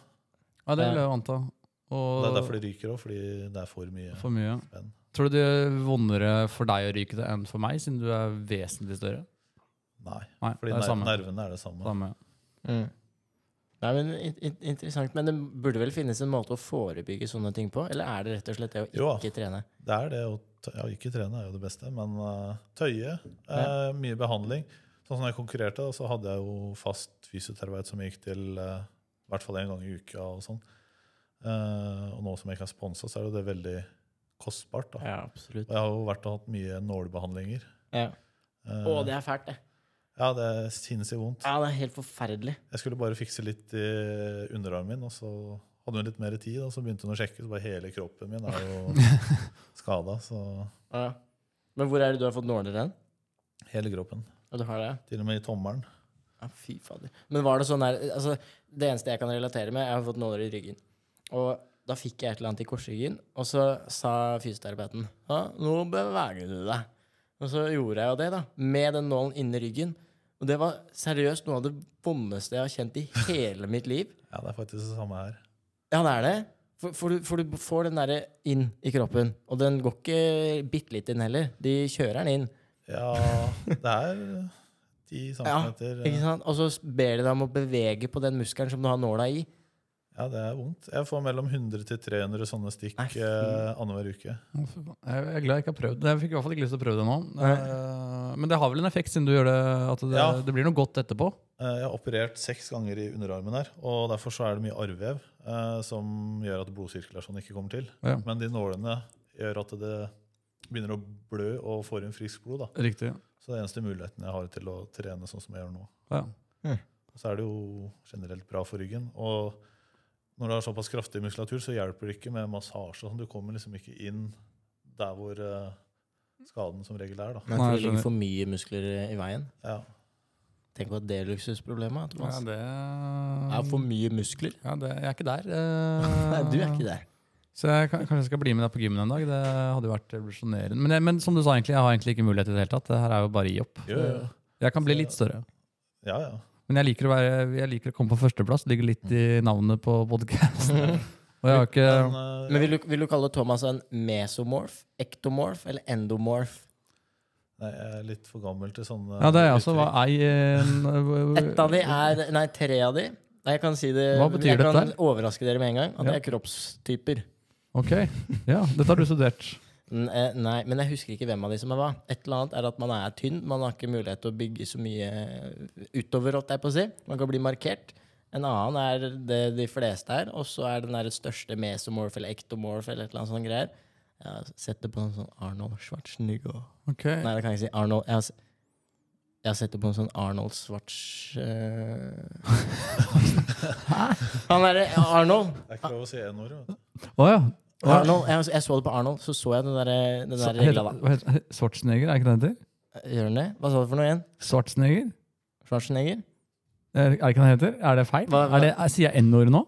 Speaker 1: Ja, det vil jeg jo anta.
Speaker 3: Og Det er
Speaker 1: Og
Speaker 3: derfor det ryker òg, fordi det er for mye
Speaker 1: for mye.
Speaker 3: spenn.
Speaker 1: Tror du det gjør vondere for deg å ryke det enn for meg, siden du er vesentlig større?
Speaker 3: Nei,
Speaker 1: Nei,
Speaker 3: fordi
Speaker 1: det er
Speaker 3: ner-
Speaker 1: samme.
Speaker 3: nervene er det samme.
Speaker 1: samme.
Speaker 2: Mm. Nei, men in in Interessant. Men det burde vel finnes en måte å forebygge sånne ting på? Eller er det rett og slett det å ikke
Speaker 3: Jo.
Speaker 2: trene?
Speaker 3: Det er det å t- ja, ikke trene er jo det beste, men eh, tøye.
Speaker 2: Ja.
Speaker 3: eh, mye behandling. Sånn som jeg konkurrerte, da, så hadde jeg jo fast fysioterapeut som jeg gikk til eh, i hvert fall én gang i uka. og sånn. Eh, og nå som jeg ikke er sponsa, så er jo det veldig kostbart. da.
Speaker 2: Ja, absolutt.
Speaker 3: Og jeg har jo vært og hatt mye nålebehandlinger.
Speaker 2: Ja.
Speaker 3: Eh,
Speaker 2: Å, det er fælt, det.
Speaker 3: Ja, det er sinnssykt vondt.
Speaker 2: Ja, det er helt forferdelig.
Speaker 3: Jeg skulle bare fikse litt i underarmen min, og så hadde hun litt mer tid, og så begynte hun å sjekke, så bare hele kroppen min er jo skada. Så
Speaker 2: Ja. Men hvor er det du har fått nåler hen?
Speaker 3: hele kroppen.
Speaker 2: Ja, du har det?
Speaker 3: Til og med i tommelen.
Speaker 2: Ja, fy fader. Men var det sånn der altså, Det eneste jeg kan relatere med, jeg har fått nåler i ryggen. Og da fikk jeg et eller annet i korsryggen, og så sa fysioterapeuten ja, 'Nå beveger du deg'. Og så gjorde jeg jo det, da. Med den nålen inni ryggen. Og det var seriøst noe av det vondeste jeg har kjent i hele mitt liv.
Speaker 3: Ja, det er faktisk det samme her.
Speaker 2: Ja, det er det. For, for, du, for du får den derre inn i kroppen. Og den går ikke bitte litt inn heller. De kjører den inn.
Speaker 3: Ja, det er ti centimeter.
Speaker 2: Ikke
Speaker 3: Ja,
Speaker 2: sant? Og så ber de deg om å bevege på den muskelen som du har nåla i.
Speaker 3: det er vondt. Jeg får mellom 100 til 300 sånne stikk
Speaker 2: Nei,
Speaker 3: eh,
Speaker 2: fy.
Speaker 3: annenhver uke.
Speaker 1: Jeg jeg er glad jeg ikke har prøvd det. Jeg fikk i hvert fall ikke lyst til å prøve det nå. Eh, Men det har vel en effekt, siden du gjør det at det,
Speaker 3: Ja.
Speaker 1: det blir noe godt etterpå.
Speaker 3: Eh, Jeg har operert seks ganger i underarmen her, og derfor så er det mye arrvev eh, som gjør at blodsirkulasjonen ikke kommer til.
Speaker 1: Ja.
Speaker 3: Men de nålene gjør at det begynner å blø og får inn friskt blod. da.
Speaker 1: Riktig.
Speaker 3: Så det er eneste muligheten jeg har til å trene sånn som jeg gjør nå.
Speaker 1: Ja.
Speaker 3: Og så er det jo generelt bra for ryggen. Og når du har såpass kraftig muskulatur, så hjelper det ikke med massasje. og Sånn. Du kommer liksom ikke inn der hvor eh, skaden som regel er. da.
Speaker 1: Nei,
Speaker 2: Men
Speaker 1: jeg
Speaker 2: for det ligger
Speaker 1: skjønner.
Speaker 2: for mye muskler eh, i veien.
Speaker 3: Ja.
Speaker 2: Tenk på at det er luksusproblemet. Thomas.
Speaker 1: Ja, det
Speaker 2: Det er for mye muskler.
Speaker 1: ja, det, Jeg er ikke der. Eh,
Speaker 2: Nei, du er ikke der.
Speaker 1: Så jeg kan, kanskje jeg skal bli med deg på gymmen en dag. Det hadde jo vært revolusjonerende. Men, jeg, men som du sa, egentlig, jeg har egentlig ikke mulighet i det hele tatt. Det her er jo bare å gi opp.
Speaker 3: Jo, jo.
Speaker 1: Jeg kan bli litt større.
Speaker 3: ja, ja.
Speaker 1: Men jeg liker å, være, jeg liker å komme på førsteplass. Det ligger litt i navnet på podkasten. Og jeg har ikke
Speaker 3: Men, eh,
Speaker 2: Men vil du, vil du kalle Thomas en mesomorf, ektomorf eller endomorf?
Speaker 3: nei, jeg er litt for gammel til sånne
Speaker 1: Ja, det er jeg også. Hva
Speaker 3: uttrykk.
Speaker 1: ei en-
Speaker 2: Ett av de er Nei, tre av de. Nei, jeg kan si det
Speaker 1: Hva betyr
Speaker 2: Jeg kan
Speaker 1: dette
Speaker 2: overraske dere med en gang. At
Speaker 1: Ja.
Speaker 2: det er kroppstyper.
Speaker 1: Ok. Ja, dette har du studert.
Speaker 2: N- eh, Nei, men jeg husker ikke hvem av de som er hva. Et eller annet er at man er tynn. Man har ikke mulighet til å bygge så mye eh, utover, holdt jeg på å si. Man kan bli markert. En annen er det de fleste er, og så er den der største mesomorph eller ectomorph eller et eller annet sånt greier. Jeg har sett det på en sånn Arnold Schwarzenegger
Speaker 1: Ok.
Speaker 2: Nei, det kan jeg ikke si. Arnold Jeg har, se- jeg har sett det på en sånn Arnold Schwarz... eh, Han derre Arnold.
Speaker 3: Det er ikke lov å si n-ord. vet du.
Speaker 1: Å ja. Hva-
Speaker 2: Arnold. Jeg, jeg så det på Arnold, så så jeg den derre den
Speaker 1: Så-
Speaker 2: der
Speaker 1: heter-
Speaker 2: regla, da.
Speaker 1: hva heter- Schwarzenegger, er ikke det det heter?
Speaker 2: Gjør den det? Hva sa du for noe igjen?
Speaker 1: Schwarzenegger?
Speaker 2: Schwarzenegger?
Speaker 1: Er er det ikke det han heter? Er det feil?
Speaker 2: Hva- hva-
Speaker 1: Er det, er, sier jeg N-ordet nå?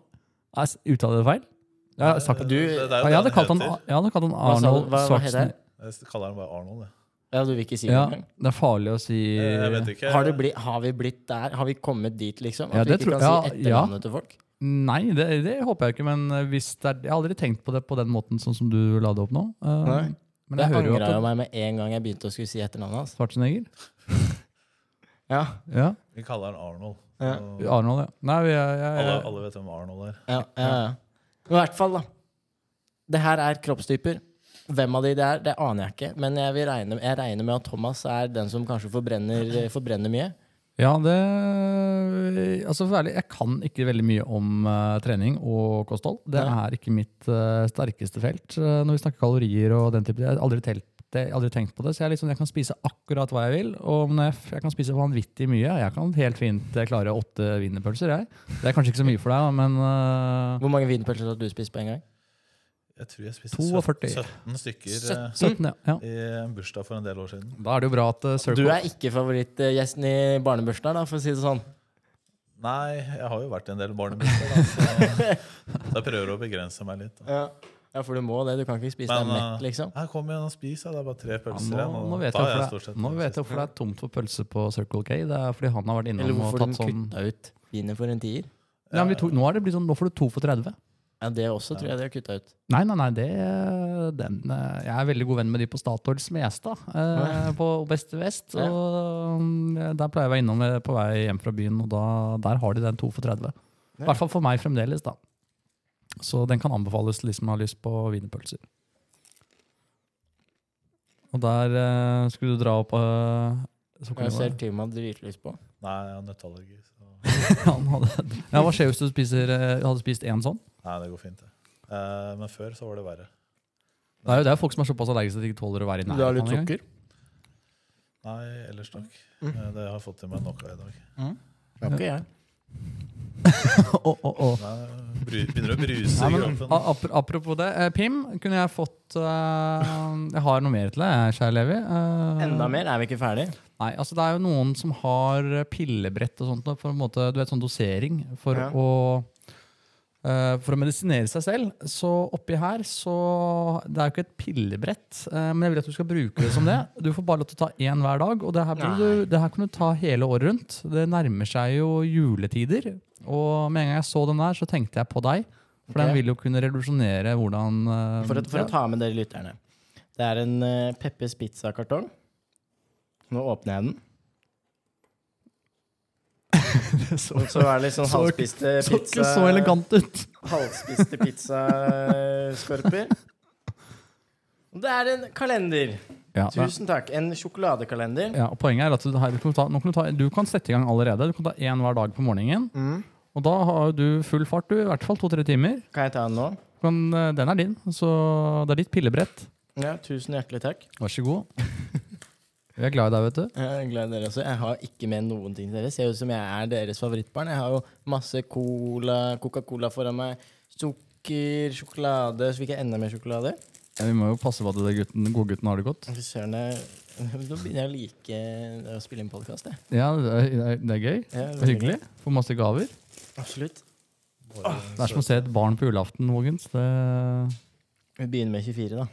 Speaker 1: Er s- Uttaler jeg det feil? Jeg har sagt
Speaker 3: Det-
Speaker 2: Du-
Speaker 3: det, det
Speaker 1: Ja, jeg
Speaker 3: er jo det
Speaker 1: hadde kalt han,
Speaker 3: den heter.
Speaker 1: jeg hadde kalt han
Speaker 2: Hva sa du?
Speaker 1: Arnold
Speaker 2: Hva- hva heter
Speaker 1: Schwarzenegger.
Speaker 3: Jeg kaller han bare Arnold. Jeg.
Speaker 2: Ja, du vil ikke si det
Speaker 1: Ja,
Speaker 2: engang?
Speaker 1: det er farlig å si
Speaker 3: Eh, jeg vet ikke.
Speaker 2: Har, det bli- har vi blitt der? Har vi kommet dit, liksom? At
Speaker 1: Ja,
Speaker 2: vi
Speaker 1: det
Speaker 2: ikke
Speaker 1: tror-
Speaker 2: kan
Speaker 1: ja,
Speaker 2: si
Speaker 1: ja.
Speaker 2: etternavnet til folk?
Speaker 1: Nei, det, det håper jeg ikke. Men hvis det er, jeg har aldri tenkt på det på den måten sånn som du la det opp nå. Eh,
Speaker 2: Nei.
Speaker 1: Men jeg
Speaker 2: Jeg
Speaker 1: hører jo
Speaker 2: angra jo
Speaker 1: at
Speaker 2: meg med en gang jeg begynte å skulle si etternavnet hans.
Speaker 1: Schwarzenegger
Speaker 2: Ja,
Speaker 1: Ja,
Speaker 3: Vi kaller han Arnold.
Speaker 2: Ja.
Speaker 3: Og
Speaker 1: Arnold, ja. Nei, jeg, jeg,
Speaker 3: Alle,
Speaker 1: jeg,
Speaker 3: alle vet hvem Arnold er.
Speaker 2: ja, ja, ja. Men i hvert fall, da. Det her er kroppstyper. Hvem av de det er, det aner jeg ikke. Men jeg, vil regne, jeg regner med at Thomas er den som kanskje forbrenner, eh, forbrenner mye.
Speaker 1: Ja, det Altså, for å være ærlig, jeg kan ikke veldig mye om eh, trening og kosthold. Det
Speaker 2: Nei.
Speaker 1: er ikke mitt eh, sterkeste felt eh, når vi snakker kalorier og den type. Jeg har aldri, telt, det, aldri tenkt på det. Så jeg, er litt sånn, jeg kan spise akkurat hva jeg vil. Og når jeg, f- jeg kan spise vanvittig mye. Jeg kan helt fint eh, klare åtte wienerpølser, jeg. Det er kanskje ikke så mye for deg, da, men eh,
Speaker 2: Hvor mange wienerpølser har du spist på en gang?
Speaker 3: Jeg tror jeg spiste
Speaker 1: 42.
Speaker 3: 17 stykker eh,
Speaker 1: 17, ja. ja.
Speaker 3: i en bursdag for en del år siden.
Speaker 1: Da er det jo bra at eh,
Speaker 2: Du
Speaker 1: Circle
Speaker 2: er ikke favorittgjesten i barnebursdagen, her, da, for å si det sånn.
Speaker 3: Nei, jeg har jo vært i en del barnebursdager, da, så, så jeg prøver å begrense meg litt. Da.
Speaker 2: Ja. for du må det. Du kan ikke spise deg
Speaker 3: Men,
Speaker 2: mett,
Speaker 3: eh,
Speaker 2: liksom.
Speaker 3: Nei, kom igjen og spis, da. Det er bare tre
Speaker 1: ja,
Speaker 3: pølser
Speaker 1: nå,
Speaker 3: igjen. og
Speaker 1: nå vet jeg
Speaker 3: da er
Speaker 1: hvorfor
Speaker 3: stort
Speaker 1: det,
Speaker 3: sett
Speaker 1: er- nå
Speaker 3: den
Speaker 1: vet jeg hvorfor det er tomt for pølse på Circle K. Det er fordi han har vært
Speaker 2: Eller
Speaker 1: innom og
Speaker 2: hvorfor
Speaker 1: tatt
Speaker 2: de
Speaker 1: sånn
Speaker 2: kutta ut wiener for en tier.
Speaker 1: ja, men vi to, nå, er det blitt sånn, nå får du to for 30.
Speaker 2: Ja, det også tror jeg de har kutta ut.
Speaker 1: Nei, nei, nei, det, den, eh, jeg er veldig god venn med de på Statoil Smestad, eh, på Beste Vest.
Speaker 2: Ja.
Speaker 1: Og mm, der pleier jeg å være innom eh, på vei hjem fra byen, og da, der har de den 2 for 30. I hvert fall for meg fremdeles, da. Så den kan anbefales til de som har lyst på wienerpølser. Og der eh, skulle du dra opp eh, så kom
Speaker 2: Jeg
Speaker 1: det-
Speaker 2: ser Tim har dritlyst på.
Speaker 3: der. Nei, jeg har nøtteallergi. Så.
Speaker 1: Han hadde- Ja, Hva skjer hvis du spiser, eh, hadde spist én sånn?
Speaker 3: Nei, det går fint, det. Eh, men før så var det verre.
Speaker 1: Det er jo det er folk som er såpass allergiske at de ikke tåler å være i
Speaker 2: Du har litt
Speaker 1: nærheten. engang.
Speaker 2: sukker?
Speaker 3: Nei, ellers takk. Eh, Det har jeg fått i meg nok av i dag.
Speaker 2: Ja, ikke jeg.
Speaker 1: Å, å, å.
Speaker 3: Nei, bry, begynner å bruse
Speaker 1: Nei,
Speaker 3: i
Speaker 1: men, Ah,
Speaker 3: kroppen.
Speaker 1: a- apro- apropos det, eh, Pim, kunne jeg fått eh, Jeg har noe mer til deg, kjære Levi. Eh,
Speaker 2: Enda mer er vi ikke ferdig.
Speaker 1: Nei, altså det er jo noen som har eh, pillebrett og sånt da, for en måte, du vet, sånn dosering for
Speaker 2: Ja.
Speaker 1: å eh, for å medisinere seg selv. Så oppi her så Det er jo ikke et pillebrett, eh, men jeg vil at du skal bruke det som det. Du får bare lov til å ta én hver dag, og det her, burde du, det her kan du ta hele året rundt. Det nærmer seg jo juletider, og med en gang jeg så den der, så tenkte jeg på deg. For
Speaker 2: Ok.
Speaker 1: den vil jo kunne revolusjonere hvordan eh,
Speaker 2: For å, for
Speaker 1: ja.
Speaker 2: å ta med dere lytterne. Det er en eh, Peppers Pizza-kartong. Nå åpner jeg den.
Speaker 1: så,
Speaker 2: Og så er det litt sånn
Speaker 1: Så-
Speaker 2: halvspiste
Speaker 1: så ikke
Speaker 2: pizza
Speaker 1: så elegant ut.
Speaker 2: Halvspiste pizzaskorper. Og Det er en kalender.
Speaker 1: Ja, det-
Speaker 2: Tusen takk. En sjokoladekalender.
Speaker 1: Ja, og poenget er at du, her, du, kan ta, nå kan du, ta, du kan sette i gang allerede. Du kan ta én hver dag på morgenen.
Speaker 2: Mm.
Speaker 1: Og da har du full fart, du. I hvert fall to-tre timer.
Speaker 2: Kan jeg ta den nå?
Speaker 1: Du Kan, eh, den er din. Så det er ditt pillebrett.
Speaker 2: Ja, tusen hjertelig takk.
Speaker 1: Vær så god. Vi er glad i deg, vet du.
Speaker 2: Jeg er glad i dere også. Jeg har ikke med noen ting til dere. Ser ut som jeg er deres favorittbarn. Jeg har jo masse cola, Coca-Cola foran meg, sukker, sjokolade. Så fikk jeg enda mer sjokolade.
Speaker 1: Ja, vi må jo passe på at det gutten, godgutten har det godt.
Speaker 2: Fy søren, jeg- Nå begynner jeg å like å spille inn podkast, jeg.
Speaker 1: Ja, Det er, det er- det er gøy.
Speaker 2: Ja,
Speaker 1: Det er hyggelig. Får masse gaver.
Speaker 2: Absolutt.
Speaker 1: Det er som å se et barn på julaften, Mogens. Det,
Speaker 2: Vi begynner med 24, da.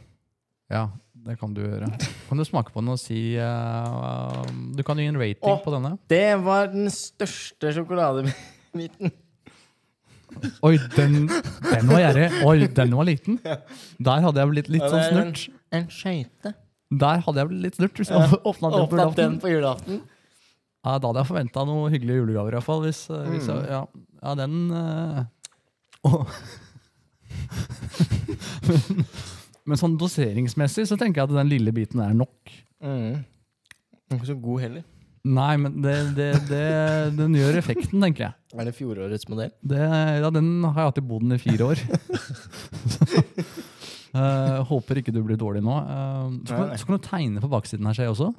Speaker 1: ja, det kan du gjøre. Kan du smake på den og si eh, um, Du kan gi en rating
Speaker 2: Å.
Speaker 1: på denne.
Speaker 2: Det var den største sjokoladebiten.
Speaker 1: Oi, den, den var gjerrig. Oi, den var liten. Der hadde jeg blitt litt
Speaker 2: Ja, det
Speaker 1: sånn
Speaker 2: er en-
Speaker 1: snurt.
Speaker 2: En skøyte.
Speaker 1: Der hadde jeg blitt litt snurt hvis jeg hadde åpna den på
Speaker 2: Åpnet den
Speaker 1: julaften.
Speaker 2: på julaften.
Speaker 1: Ja, da hadde jeg forventa noen hyggelige julegaver, iallfall. Hvis,
Speaker 2: Mm.
Speaker 1: eh, hvis jeg, ja. ja, den eh, åh. Men sånn doseringsmessig så tenker jeg at den lille biten er nok.
Speaker 2: Mm. Den er Ikke så god heller.
Speaker 1: Nei, men det, det, det, den gjør effekten, tenker jeg.
Speaker 2: Er det fjorårets modell?
Speaker 1: Det, ja, den har jeg hatt i boden i fire år. Eh, håper ikke du blir dårlig nå. Eh, så,
Speaker 2: Nei,
Speaker 1: kan,
Speaker 2: nei.
Speaker 1: så kan du tegne på baksiden her, ser jeg også.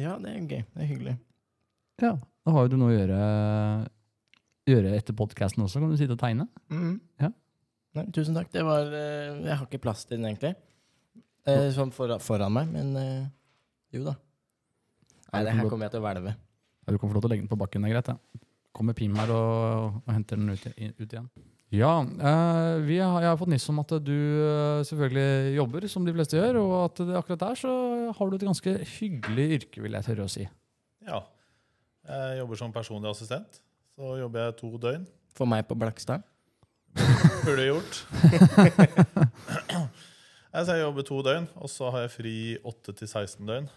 Speaker 2: Ja, det er gøy. Det er hyggelig.
Speaker 1: Ja, Da har jo du noe å gjøre, gjøre etter podkasten også. Kan du sitte og tegne?
Speaker 2: Mm.
Speaker 1: Ja.
Speaker 2: Nei, tusen takk. Det var eh, Jeg har ikke plass til den, egentlig. Eh, sånn for, foran meg, men eh, jo da. Nei, det her kommer jeg til å hvelve.
Speaker 1: Ja, Du kan få lov til å legge den på bakken. det er greit. det. Kommer Pim her og, og henter den ut, i- ut igjen. Ja, eh, vi har, jeg har fått nyss om at du eh, selvfølgelig jobber, som de fleste gjør, og at det, akkurat der så har du et ganske hyggelig yrke, vil jeg tørre å si.
Speaker 3: Ja. Jeg jobber som personlig assistent. Så jobber jeg to døgn.
Speaker 2: For meg på Blakstad.
Speaker 3: Burde gjort. Nei, så jeg jobber to døgn, og så har jeg fri 8 til 16 døgn.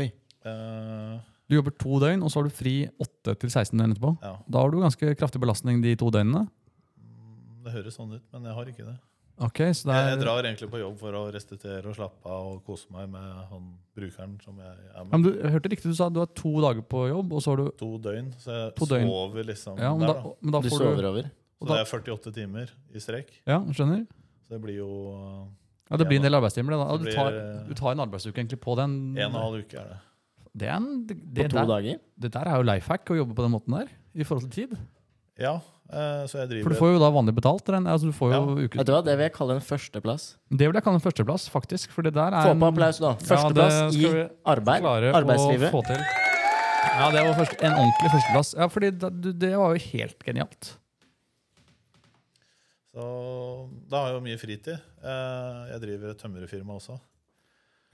Speaker 2: Oi.
Speaker 3: Eh,
Speaker 1: Du jobber to døgn, og så har du fri 8 til 16 døgn etterpå.
Speaker 3: ja,
Speaker 1: Da har du ganske kraftig belastning de to døgnene.
Speaker 3: det høres sånn ut, men jeg har ikke det.
Speaker 1: Ok, så det
Speaker 3: Jeg, jeg
Speaker 1: er...
Speaker 3: drar egentlig på jobb for å restituere og slappe av og kose meg med han brukeren som jeg er
Speaker 1: Ja,
Speaker 3: med.
Speaker 1: men du, jeg hørte riktig, du sa du har to dager på jobb, og så har du
Speaker 3: To døgn, så jeg
Speaker 1: To døgn.
Speaker 3: sover liksom
Speaker 1: Ja, men
Speaker 3: der.
Speaker 1: da,
Speaker 3: Da.
Speaker 1: men da
Speaker 2: Du
Speaker 1: får
Speaker 2: sover
Speaker 1: du
Speaker 2: over.
Speaker 1: og
Speaker 3: Så
Speaker 1: da-
Speaker 3: det er 48 timer i strekk.
Speaker 1: Ja, skjønner.
Speaker 3: Så det blir jo eh,
Speaker 1: Ja, det blir en del arbeidstimer. det Da.
Speaker 3: Så
Speaker 1: Du,
Speaker 3: blir
Speaker 1: tar,
Speaker 3: det-
Speaker 1: du tar en arbeidsuke egentlig på den.
Speaker 3: eh, en og en halv uke. er det.
Speaker 1: Det, er en, det,
Speaker 2: På
Speaker 1: det,
Speaker 2: to
Speaker 1: der,
Speaker 2: dager.
Speaker 1: det der er jo life hack å jobbe på den måten der. I forhold til tid.
Speaker 3: Ja, eh, så
Speaker 1: For
Speaker 3: jeg driver
Speaker 1: du får jo da vanlig betalt. regner- Altså, du får jo
Speaker 2: Vet
Speaker 1: ukes...
Speaker 2: du hva, Det vil jeg kalle en førsteplass.
Speaker 1: Det vil jeg kalle en førsteplass, faktisk. For det der er
Speaker 2: Få på
Speaker 1: en-
Speaker 2: applaus, da.
Speaker 1: Ja, det
Speaker 2: Førsteplass
Speaker 1: skal vi
Speaker 2: i arbeid.
Speaker 1: klare
Speaker 2: Arbeidslivet.
Speaker 1: å få til. Ja, det var først, en ordentlig førsteplass. Ja, fordi da, du, det var jo helt genialt.
Speaker 3: Så da har jeg jo mye fritid. Eh, Jeg driver et tømrerfirma også.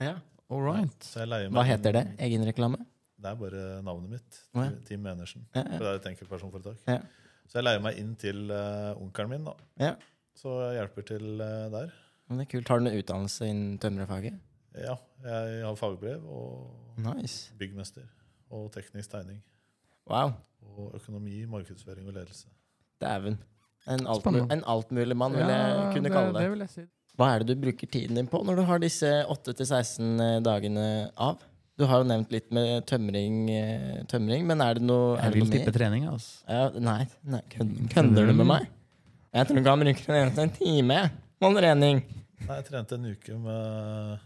Speaker 2: Ja.
Speaker 1: All right.
Speaker 3: Så jeg leier meg
Speaker 2: Hva
Speaker 3: inn-
Speaker 2: heter det? Egenreklame?
Speaker 3: Det er bare navnet mitt.
Speaker 2: Å, ja.
Speaker 3: Team Enersen.
Speaker 2: Ja,
Speaker 3: For
Speaker 2: ja,
Speaker 3: det er et enkeltpersonforetak.
Speaker 2: Ja.
Speaker 3: Så jeg leier meg inn til eh, onkelen min, da.
Speaker 2: ja.
Speaker 3: Så jeg hjelper til eh, der.
Speaker 2: Men det er kult. Har du noen utdannelse innen tømrerfaget?
Speaker 3: Ja, jeg har fagbrev og
Speaker 2: Nice.
Speaker 3: byggmester. Og teknisk tegning.
Speaker 2: Wow.
Speaker 3: Og økonomi, markedsføring og ledelse.
Speaker 2: Dæven. En, alt,
Speaker 1: Spennende.
Speaker 2: en altmulig mann, vil jeg kunne kalle
Speaker 1: det
Speaker 2: deg.
Speaker 1: vil jeg si.
Speaker 2: Hva er det du bruker tiden din på når du har disse 8-16 eh, dagene av? Du har jo nevnt litt med tømring, eh, tømring men er det noe, er
Speaker 1: Jeg
Speaker 2: det
Speaker 1: vil
Speaker 2: noe
Speaker 1: tippe
Speaker 2: mer?
Speaker 1: trening. altså.
Speaker 2: Ja, nei, nei kødder, kødder du med meg? Jeg tror ikke han bruker en eneste time. jeg. målrening.
Speaker 3: Nei, jeg trente en uke med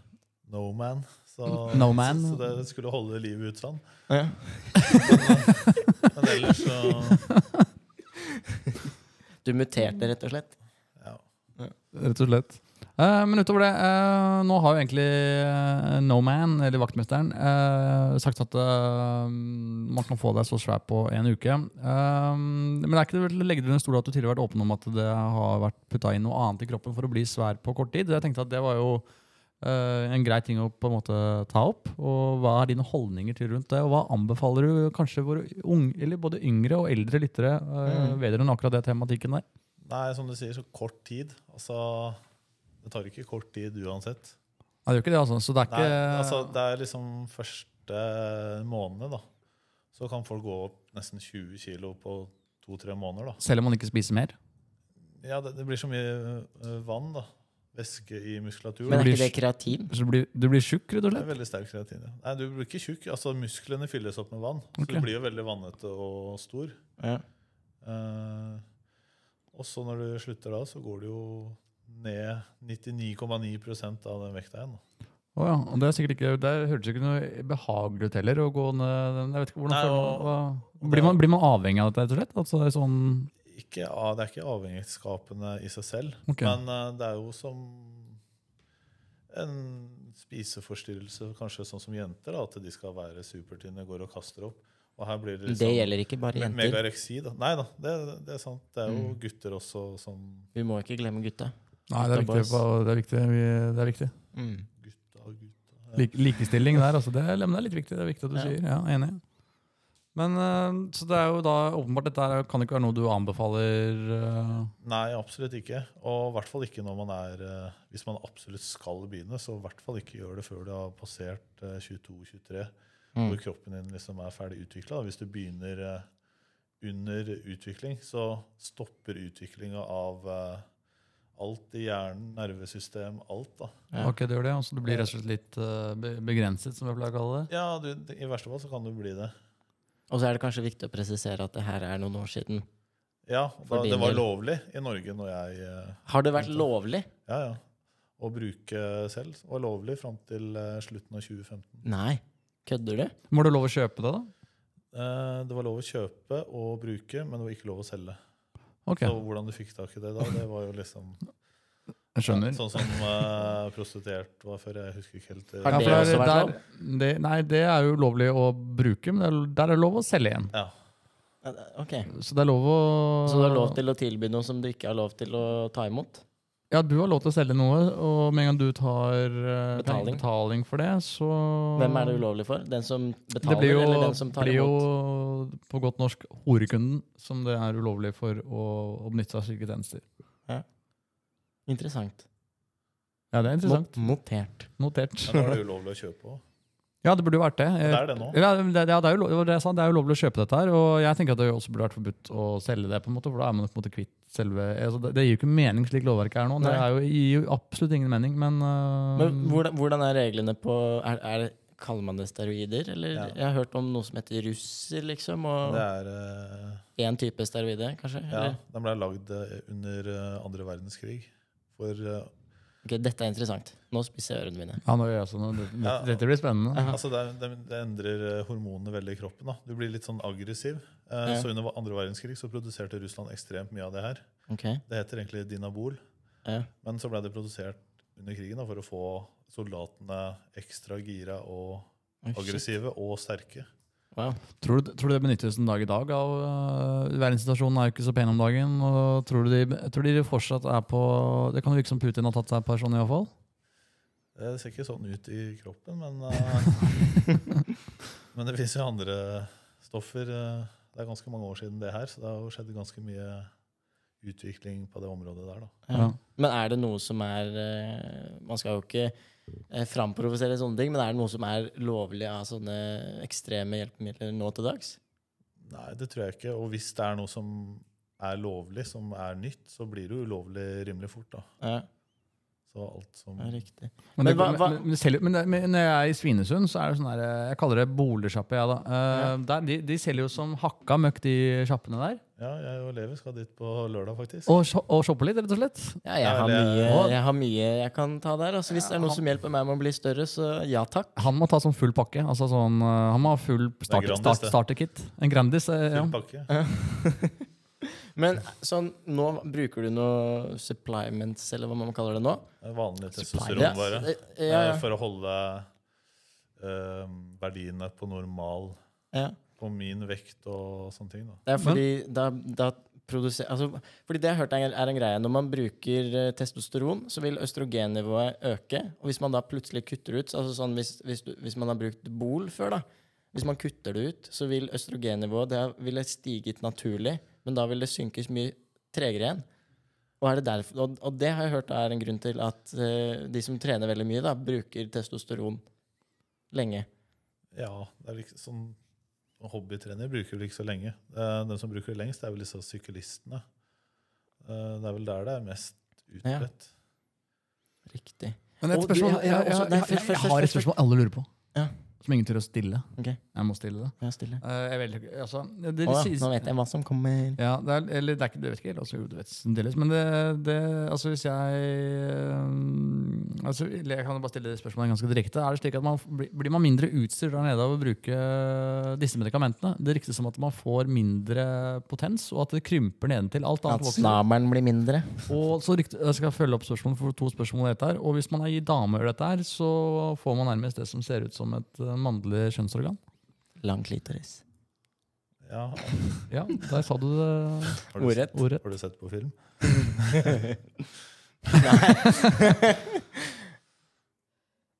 Speaker 3: No Man. Så,
Speaker 1: No Man?
Speaker 3: så det skulle holde livet ut sånn.
Speaker 2: Ja.
Speaker 3: Men ellers så
Speaker 2: Du muterte, rett og slett.
Speaker 3: ja.
Speaker 1: Rett og slett. Eh, men utover det, eh, nå har jo egentlig eh, No Man, eller vaktmesteren, eh, sagt at eh, man kan få deg så svær på en uke. Eh, men det er ikke det vel legger under stol at du tidligere har vært åpen om at det har vært putta inn noe annet i kroppen for å bli svær på kort tid. Jeg tenkte at det var jo eh, en grei ting å på en måte ta opp. Og hva er dine holdninger til rundt det, og hva anbefaler du kanskje våre unge, eller både yngre og eldre lyttere eh,
Speaker 2: Mm.
Speaker 1: vedrørende akkurat det tematikken der?
Speaker 3: Nei, som du sier, så kort tid. Altså, det tar ikke kort tid uansett.
Speaker 1: Nei, det gjør ikke det, altså. Så det er
Speaker 3: Nei,
Speaker 1: ikke
Speaker 3: altså, det er liksom første måned, da. Så kan folk gå opp nesten 20 kilo på to-tre måneder, da.
Speaker 1: Selv om man ikke spiser mer?
Speaker 3: Ja, det, det blir så mye ø, vann, da. Væske i muskulatur.
Speaker 2: Men
Speaker 1: Det
Speaker 2: er
Speaker 1: blir
Speaker 2: ikke det kreatin?
Speaker 1: Så du blir, du blir tjukk, rett og
Speaker 3: Det
Speaker 1: slett?
Speaker 3: er veldig sterk kreatin. Ja. Nei, du blir ikke tjukk. Altså, musklene fylles opp med vann. Så
Speaker 1: Ok.
Speaker 3: du blir jo veldig vannete og stor. Eh, og så når du slutter da, så går du jo ned 99,9 av den vekta igjen. da.
Speaker 1: Å ja. Og det, er sikkert ikke, det hørtes ikke noe behagelig ut heller å gå ned Jeg vet ikke hvordan
Speaker 3: Nei,
Speaker 1: føler man- hva-
Speaker 3: det
Speaker 1: blir,
Speaker 3: er-
Speaker 1: man, blir man avhengig av dette, rett og slett? Altså det er sånn
Speaker 3: Ikke, av- det er ikke avhengighetsskapende i seg selv,
Speaker 1: Ok.
Speaker 3: men eh, det er jo som en spiseforstyrrelse, kanskje sånn som jenter, da, at de skal være supertynne, går og kaster opp. Og her blir
Speaker 2: Det
Speaker 3: det liksom
Speaker 2: gjelder ikke bare
Speaker 3: me-
Speaker 2: jenter.
Speaker 3: megareksi. Da. Nei da, det, det er sant. Det er jo gutter også som
Speaker 2: Vi må ikke glemme gutta.
Speaker 1: Nei, det er viktig.
Speaker 2: Boys.
Speaker 1: på- Det er viktig. vi- Det er viktig.
Speaker 2: Mm.
Speaker 3: gutta og gutta. Ja.
Speaker 1: Lik, likestilling der, altså. Det, er- men det er litt viktig. Det er viktig at du
Speaker 2: Ja.
Speaker 1: sier. Ja, enig. Men eh, så det er jo da åpenbart dette her kan ikke være noe du anbefaler eh,
Speaker 3: Nei, absolutt ikke. Og i hvert fall ikke når man er eh, Hvis man absolutt skal begynne, så i hvert fall ikke gjør det før du har passert eh, 22-23,
Speaker 2: Mm.
Speaker 3: hvor kroppen din liksom er ferdig utvikla. Hvis du begynner eh, under utvikling, så stopper utviklinga av eh, alt i hjernen, nervesystem, alt, da.
Speaker 2: Ja.
Speaker 1: Ok, det gjør det. Altså, du blir rett og slett litt eh, be- begrenset, som jeg pleier å kalle det.
Speaker 3: Ja, du, i verste fall så kan du bli det.
Speaker 2: Og så er det kanskje viktig å presisere at det her er noen år siden.
Speaker 3: Ja,
Speaker 2: For
Speaker 3: da,
Speaker 2: din
Speaker 3: det var
Speaker 2: del.
Speaker 3: lovlig i Norge når jeg eh,
Speaker 2: Har det vært lovlig?
Speaker 3: Ja, ja. Å bruke selv var lovlig fram til eh, slutten av 2015.
Speaker 2: Nei. Kødder du?
Speaker 1: Må du lov å kjøpe det, da?
Speaker 3: Eh, Det var lov å kjøpe og bruke, men det var ikke lov å selge.
Speaker 1: Ok,
Speaker 3: Så hvordan du fikk tak i det da, det var jo liksom
Speaker 1: jeg skjønner.
Speaker 3: Sånn som eh, prostituert var før. Jeg husker ikke helt. eh,
Speaker 2: Har
Speaker 1: Ja, for
Speaker 3: det.
Speaker 1: det
Speaker 2: det
Speaker 1: er-
Speaker 2: også vært
Speaker 1: der- Det, nei, det er jo lovlig å bruke, men det er, der er det lov å selge igjen.
Speaker 3: Ja.
Speaker 2: Ok.
Speaker 1: Så det er lov å
Speaker 2: Så du har lov til å tilby noe som du ikke har lov til å ta imot?
Speaker 1: Ja, du har lov til å selge noe, og med en gang du tar eh,
Speaker 2: Betaling.
Speaker 1: betaling for det, så
Speaker 2: Hvem er det ulovlig for? Den som
Speaker 1: Det
Speaker 2: betaler,
Speaker 1: blir
Speaker 2: eller
Speaker 1: jo,
Speaker 2: den som tar
Speaker 1: blir jo
Speaker 2: imot?
Speaker 1: på godt norsk horekunden som det er ulovlig for å, å benytte seg av slike tjenester.
Speaker 2: Interessant.
Speaker 1: Ja, det er interessant.
Speaker 2: Mo- Notert.
Speaker 1: Notert.
Speaker 3: Men da var det ulovlig å kjøpe òg.
Speaker 1: Ja, det burde jo vært det.
Speaker 3: Det er det nå.
Speaker 1: Ja, det, ja, det er jo lov, det var det jeg sa, det er jo lovlig å kjøpe dette her, og jeg tenker at det også burde vært forbudt å selge det, på en måte, for da er man på en måte kvitt selve altså, det, det gir jo ikke mening slik lovverket er nå. Det er
Speaker 2: Nei.
Speaker 1: jo, gir jo absolutt ingen mening, men, øh,
Speaker 2: Men hvordan, hvordan er reglene på er, er, det- Kaller man det steroider? Eller
Speaker 3: Ja.
Speaker 2: jeg har hørt om noe som heter russer, liksom.
Speaker 3: Det
Speaker 2: Og
Speaker 3: er eh,
Speaker 2: én type steroider, kanskje?
Speaker 3: Ja,
Speaker 2: Eller?
Speaker 3: den ble lagd eh, under eh, andre verdenskrig. For eh,
Speaker 2: Ok, dette er interessant. Nå spiser jeg ørene mine.
Speaker 1: Ja, nå gjør jeg sånn. Dette,
Speaker 3: Ja.
Speaker 1: dette blir spennende.
Speaker 3: Altså, det, er- det, det endrer eh, hormonene veldig i kroppen. da. Du blir litt sånn aggressiv. Eh,
Speaker 2: Ja.
Speaker 3: Så under andre verdenskrig så produserte Russland ekstremt mye av det her.
Speaker 2: Ok,
Speaker 3: Det heter egentlig Dinabol.
Speaker 2: ja.
Speaker 3: Men så ble det produsert under krigen da, for å få soldatene ekstra gira og
Speaker 2: Oi, shit.
Speaker 3: aggressive og sterke.
Speaker 2: Wow.
Speaker 1: Tror du, tror du det benyttes en dag i dag av øh, Verdenssituasjonen er jo ikke så pen om dagen. og Tror du de, jeg tror de fortsatt er på Det kan jo virke som Putin har tatt seg et par sånne, iallfall.
Speaker 3: Det ser ikke sånn ut i kroppen, men, eh, men det fins jo andre stoffer. eh, Det er ganske mange år siden det her, så det har jo skjedd ganske mye utvikling på det området der. da.
Speaker 2: Ja.
Speaker 1: Ja.
Speaker 2: Men er det noe som er eh, Man skal jo ikke eh, framprovosere sånne ting, men er det noe som er lovlig av sånne ekstreme hjelpemidler nå til dags?
Speaker 3: Nei, det tror jeg ikke. Og hvis det er noe som er lovlig, som er nytt, så blir det jo ulovlig rimelig fort. da.
Speaker 2: Ja.
Speaker 3: Så Så alt som
Speaker 2: Ja, riktig.
Speaker 1: Men,
Speaker 2: Men
Speaker 1: det,
Speaker 2: hva- hva-
Speaker 1: men, men, selv, men, det- men når jeg er i Svinesund, så er det sånn der eh, Jeg kaller det boligsjappe, jeg, da. Eh, der, de, de selger jo som hakka møkk, de sjappene der.
Speaker 3: Ja, jeg og Levi skal dit på lørdag, faktisk.
Speaker 1: Og, sho- og shopper litt, rett og slett.
Speaker 2: Ja, jeg har,
Speaker 3: Eller-
Speaker 2: mye, jeg har mye jeg kan ta der. Altså, hvis det er noe som hjelper meg med å bli større, så ja takk.
Speaker 1: Han må ta sånn full pakke. Altså sånn, eh, han må ha full start,
Speaker 3: Grandis,
Speaker 1: start,
Speaker 3: det.
Speaker 1: starterkit. En Grandis. eh, Ja.
Speaker 3: Full pakke.
Speaker 2: Men sånn, nå bruker du noe supplements, eller hva man kaller det nå?
Speaker 3: Det er Vanlig
Speaker 2: Ja,
Speaker 3: testosteronvare.
Speaker 2: ja,
Speaker 3: Eh,
Speaker 2: ja,
Speaker 3: For å holde eh, verdiene på normal
Speaker 2: ja.
Speaker 3: på min vekt og sånne ting. da.
Speaker 2: Det er fordi da, da produser, altså, fordi det jeg har hørt er, er en greie. Når man bruker eh, testosteron, så vil østrogennivået øke. Og hvis man da plutselig kutter ut altså sånn hvis, hvis, du, hvis man har brukt Bol før, da Hvis man kutter det ut, så vil østrogennivået det ville stiget naturlig, men da vil det synkes mye tregere igjen. Og, er det derfor, og, og det har jeg hørt er en grunn til at eh, de som trener veldig mye, da, bruker testosteron lenge.
Speaker 3: Ja, det er liksom sånn Hobbytrener bruker vel ikke så lenge. Eh, Den som bruker det lengst, er vel disse syklistene. Eh, Det er vel der det er mest
Speaker 2: Ja.
Speaker 3: utbredt.
Speaker 2: Riktig.
Speaker 1: Men et
Speaker 2: Og du,
Speaker 1: spørsmål
Speaker 2: jeg-
Speaker 1: jeg, jeg,
Speaker 2: jeg-
Speaker 1: jeg,
Speaker 2: også- nei, først-
Speaker 1: jeg,
Speaker 2: først-
Speaker 1: har et
Speaker 2: først- først-
Speaker 1: spørsmål alle lurer på,
Speaker 2: Ja.
Speaker 1: som ingen tør å stille.
Speaker 2: Ok.
Speaker 1: Jeg må stille det.
Speaker 2: Ja, stille.
Speaker 1: Eh, jeg vet ikke, altså, det, det
Speaker 2: Å ja,
Speaker 1: sies-
Speaker 2: nå vet jeg hva som kommer.
Speaker 1: Ja, det er, eller det er ikke, du vet ikke helt, altså, jo, du vet fremdeles, men det, det, altså hvis jeg øhm, altså, eller Jeg kan jo bare stille det spørsmålet ganske direkte. Er det slik at man, f- blir- Blir man mindre utstyrt der nede av å bruke disse medikamentene? Det ryktes som at man får mindre potens, og at det krymper nedentil. Alt annet
Speaker 2: At
Speaker 1: vokser.
Speaker 2: snabelen blir mindre.
Speaker 1: Og så rykte, jeg skal følge opp spørsmålet for to spørsmål i dette her. Og hvis man er i dameøl dette her, så får man nærmest det som ser ut som et øh, mannlig kjønnsorgan.
Speaker 2: Lang klitoris.
Speaker 3: Ja,
Speaker 1: Ja, der sa du det
Speaker 3: har du,
Speaker 2: Ordrett.
Speaker 1: ordet.
Speaker 3: har du sett på film?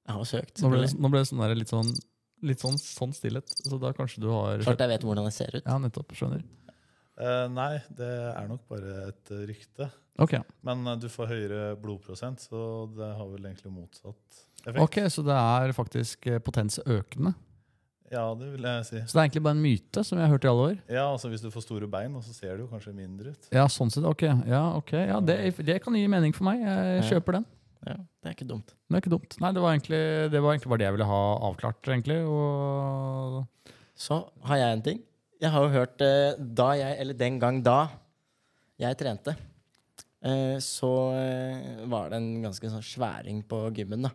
Speaker 2: Jeg har søkt.
Speaker 1: Nå ble det,
Speaker 2: selvfølgelig.
Speaker 1: nå ble det sånn der, litt, sånn, litt sånn, sånn stillhet, så da kanskje du har
Speaker 2: Klart jeg vet hvordan det ser ut.
Speaker 1: Ja, nettopp. Skjønner.
Speaker 3: Eh, Nei, det er nok bare et eh, rykte.
Speaker 1: Ok,
Speaker 3: Men eh, du får høyere blodprosent, så det har vel egentlig motsatt effekt.
Speaker 1: Ok, Så det er faktisk eh, potensøkende.
Speaker 3: Ja, det vil jeg si.
Speaker 1: Så det er egentlig bare en myte som jeg har hørt i alle år?
Speaker 3: Ja, altså Hvis du får store bein, og så ser det jo kanskje mindre ut.
Speaker 1: Ja, sånn sett. Ok. Ja, ok. Ja, det, det kan gi mening for meg. Jeg
Speaker 2: Ja.
Speaker 1: kjøper den.
Speaker 2: Ja, det er ikke dumt.
Speaker 1: Det er ikke dumt. Nei, det var egentlig, det var egentlig bare det jeg ville ha avklart, egentlig. Og
Speaker 2: Så har jeg en ting. Jeg har jo hørt eh, da jeg, eller den gang da jeg trente, eh, så eh, var det en ganske sånn sværing på gymmen, da.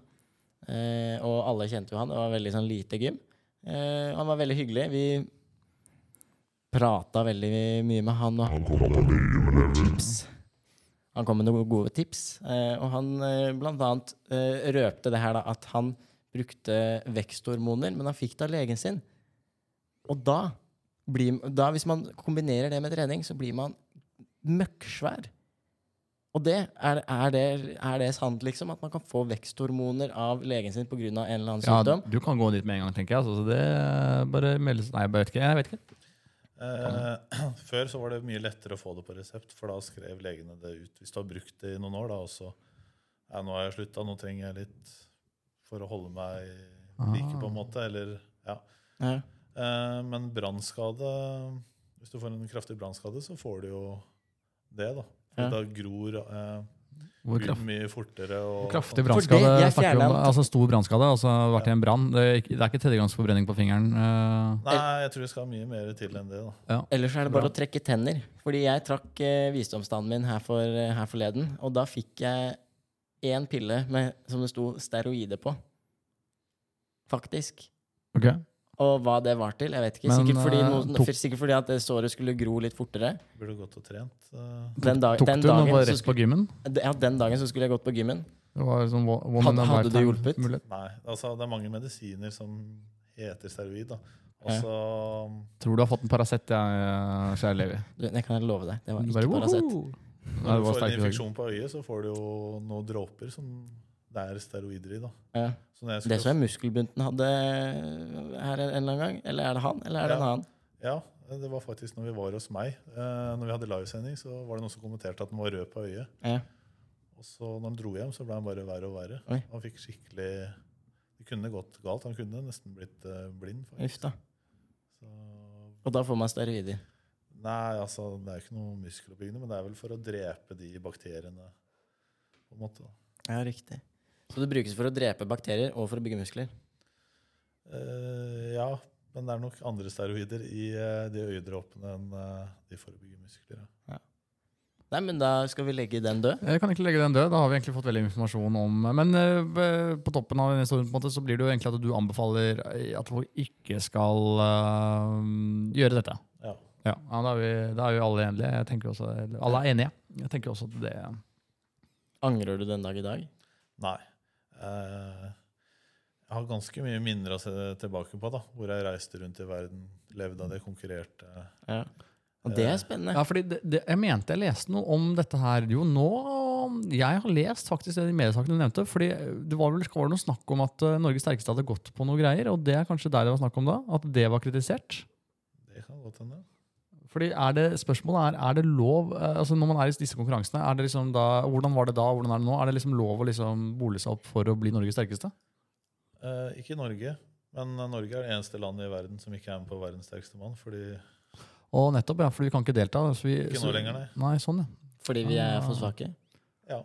Speaker 2: Eh, og alle kjente jo han. Det var veldig sånn lite gym. Eh, han var veldig hyggelig. Vi prata veldig mye med han. Og han kom med tips. Han kom med noen gode tips. Eh, og han eh, blant annet eh, røpte det her da, at han brukte veksthormoner, men han fikk det av legen sin. Og da, blir, da, hvis man kombinerer det med trening, så blir man møkksvær. Og det er, er, det, er det sant, liksom? At man kan få veksthormoner av legen sin pga. en eller annen
Speaker 1: ja,
Speaker 2: sykdom?
Speaker 1: du kan gå dit med en gang, tenker jeg. Altså, så det bare meldes Nei, jeg vet ikke. Jeg vet ikke.
Speaker 3: Eh, før så var det mye lettere å få det på resept, for da skrev legene det ut. Hvis du har brukt det i noen år, da, og så ja, nå har jeg slutta, nå trenger jeg litt for å holde meg like, på en måte. Eller, ja.
Speaker 2: Ja.
Speaker 3: Eh, men brannskade Hvis du får en kraftig brannskade, så får du jo det, da. For
Speaker 2: Ja.
Speaker 3: Da gror eh,
Speaker 1: Hvor
Speaker 3: huden mye fortere. Og,
Speaker 1: Kraftig
Speaker 2: For det-
Speaker 1: brannskade.
Speaker 2: jeg
Speaker 1: snakker vi om,
Speaker 2: fjernet-
Speaker 1: Altså stor brannskade. Altså vært i en brann. Det, er ikke- det er ikke tredjegangsforbrenning på fingeren. eh.
Speaker 3: Nei, jeg tror det skal mye mer til enn det. da.
Speaker 2: Ellers er det bare å trekke tenner. Fordi jeg trakk eh, visdomstannen min her, for, eh, her forleden, og da fikk jeg én pille med, som det sto steroide på. Faktisk.
Speaker 1: Ok.
Speaker 2: Og hva det var til, jeg vet ikke.
Speaker 1: Men,
Speaker 2: sikkert, fordi
Speaker 1: eh,
Speaker 2: noen,
Speaker 1: tok-
Speaker 2: sikkert fordi at det såret skulle gro litt fortere.
Speaker 3: Burde gått og trent. eh.
Speaker 2: Den, dag,
Speaker 1: Tok
Speaker 2: den,
Speaker 1: du noe
Speaker 2: dagen,
Speaker 1: bare
Speaker 2: så
Speaker 1: rett på gymmen?
Speaker 2: sk- ja, den dagen så skulle jeg gått på gymmen.
Speaker 1: Det var sånn wo- woman
Speaker 2: Hadde-
Speaker 1: and
Speaker 2: hadde det
Speaker 1: lifetime
Speaker 2: hjulpet?
Speaker 1: mulighet.
Speaker 3: Nei, altså det er mange medisiner som heter steroid. da. Altså,
Speaker 1: Tror du har fått en Paracet, jeg, eh, kjære Levi.
Speaker 2: Du, Det kan jeg love deg. Det var
Speaker 1: Du
Speaker 2: ikke
Speaker 1: bare,
Speaker 2: Paracet.
Speaker 1: «Woho!» Nei,
Speaker 3: Når
Speaker 1: det var
Speaker 3: du får en
Speaker 1: sterkt i dag.
Speaker 3: infeksjon på øyet, så får du jo noen dråper som det er steroider i. da.
Speaker 2: Ja.
Speaker 3: Så når jeg
Speaker 2: Det
Speaker 3: skulle-
Speaker 2: så jeg muskelbunten hadde eh, her en eller annen gang. Eller er det han, eller er det en
Speaker 3: Ja.
Speaker 2: annen?
Speaker 3: Ja, det var faktisk når vi var hos meg. Eh, når vi hadde livesending, så var det noen som kommenterte at den var rød på øyet.
Speaker 2: Ja.
Speaker 3: Og så når han dro hjem, så ble han bare verre og verre.
Speaker 2: Oi.
Speaker 3: Han fikk skikkelig Det kunne gått galt. Han kunne nesten blitt eh, blind.
Speaker 2: Uff
Speaker 3: faktisk.
Speaker 2: da.
Speaker 3: Så,
Speaker 2: Og da får man steroider.
Speaker 3: nei, altså, det er ikke noe muskeloppbyggende, men det er vel for å drepe de bakteriene, på en måte. da.
Speaker 2: Ja, riktig. Så det brukes for å drepe bakterier og for å bygge muskler?
Speaker 3: Eh, ja, men det er nok andre steroider i eh, de øyedråpene enn eh, de for å bygge muskler. Ja.
Speaker 2: Nei, men da skal vi legge den død.
Speaker 1: Jeg kan egentlig legge den død. Da har vi egentlig fått veldig informasjon om Men eh, på toppen av denne historien på en måte, så blir det jo egentlig at du anbefaler eh, at folk ikke skal eh, gjøre dette.
Speaker 3: Ja.
Speaker 1: Ja, ja da, er vi, da er vi alle enige. Jeg tenker også, eller, alle er enige. Jeg tenker også at det
Speaker 2: Angrer du den dag i dag?
Speaker 3: Nei. Eh, jeg har ganske mye minner å se tilbake på, da, hvor jeg reiste rundt i verden, levde av det, konkurrerte.
Speaker 2: Ja. Og det er spennende.
Speaker 1: Ja, fordi det, det, Jeg mente jeg leste noe om dette her jo nå. Jeg har lest faktisk det i mediesakene du nevnte. fordi Det var vel var det noe snakk om at eh, Norges sterkeste hadde gått på noe greier. Og det er kanskje der det var snakk om da? At det var kritisert?
Speaker 3: Det kan godt hende.
Speaker 1: Fordi er det, Spørsmålet er er det lov eh, altså når man er i disse konkurransene, er det liksom da, hvordan var det da, hvordan er det nå? Er det liksom lov å liksom bole seg opp for å bli Norges sterkeste?
Speaker 3: Eh, ikke i Norge, men eh, Norge er det eneste landet i verden som ikke er med på Verdens sterkeste mann. fordi
Speaker 1: Og nettopp, ja, for vi kan ikke delta. Så vi,
Speaker 3: Ikke nå
Speaker 1: så-
Speaker 3: lenger, nei.
Speaker 1: Nei, sånn, ja.
Speaker 2: Fordi vi er for svake.
Speaker 3: Ja,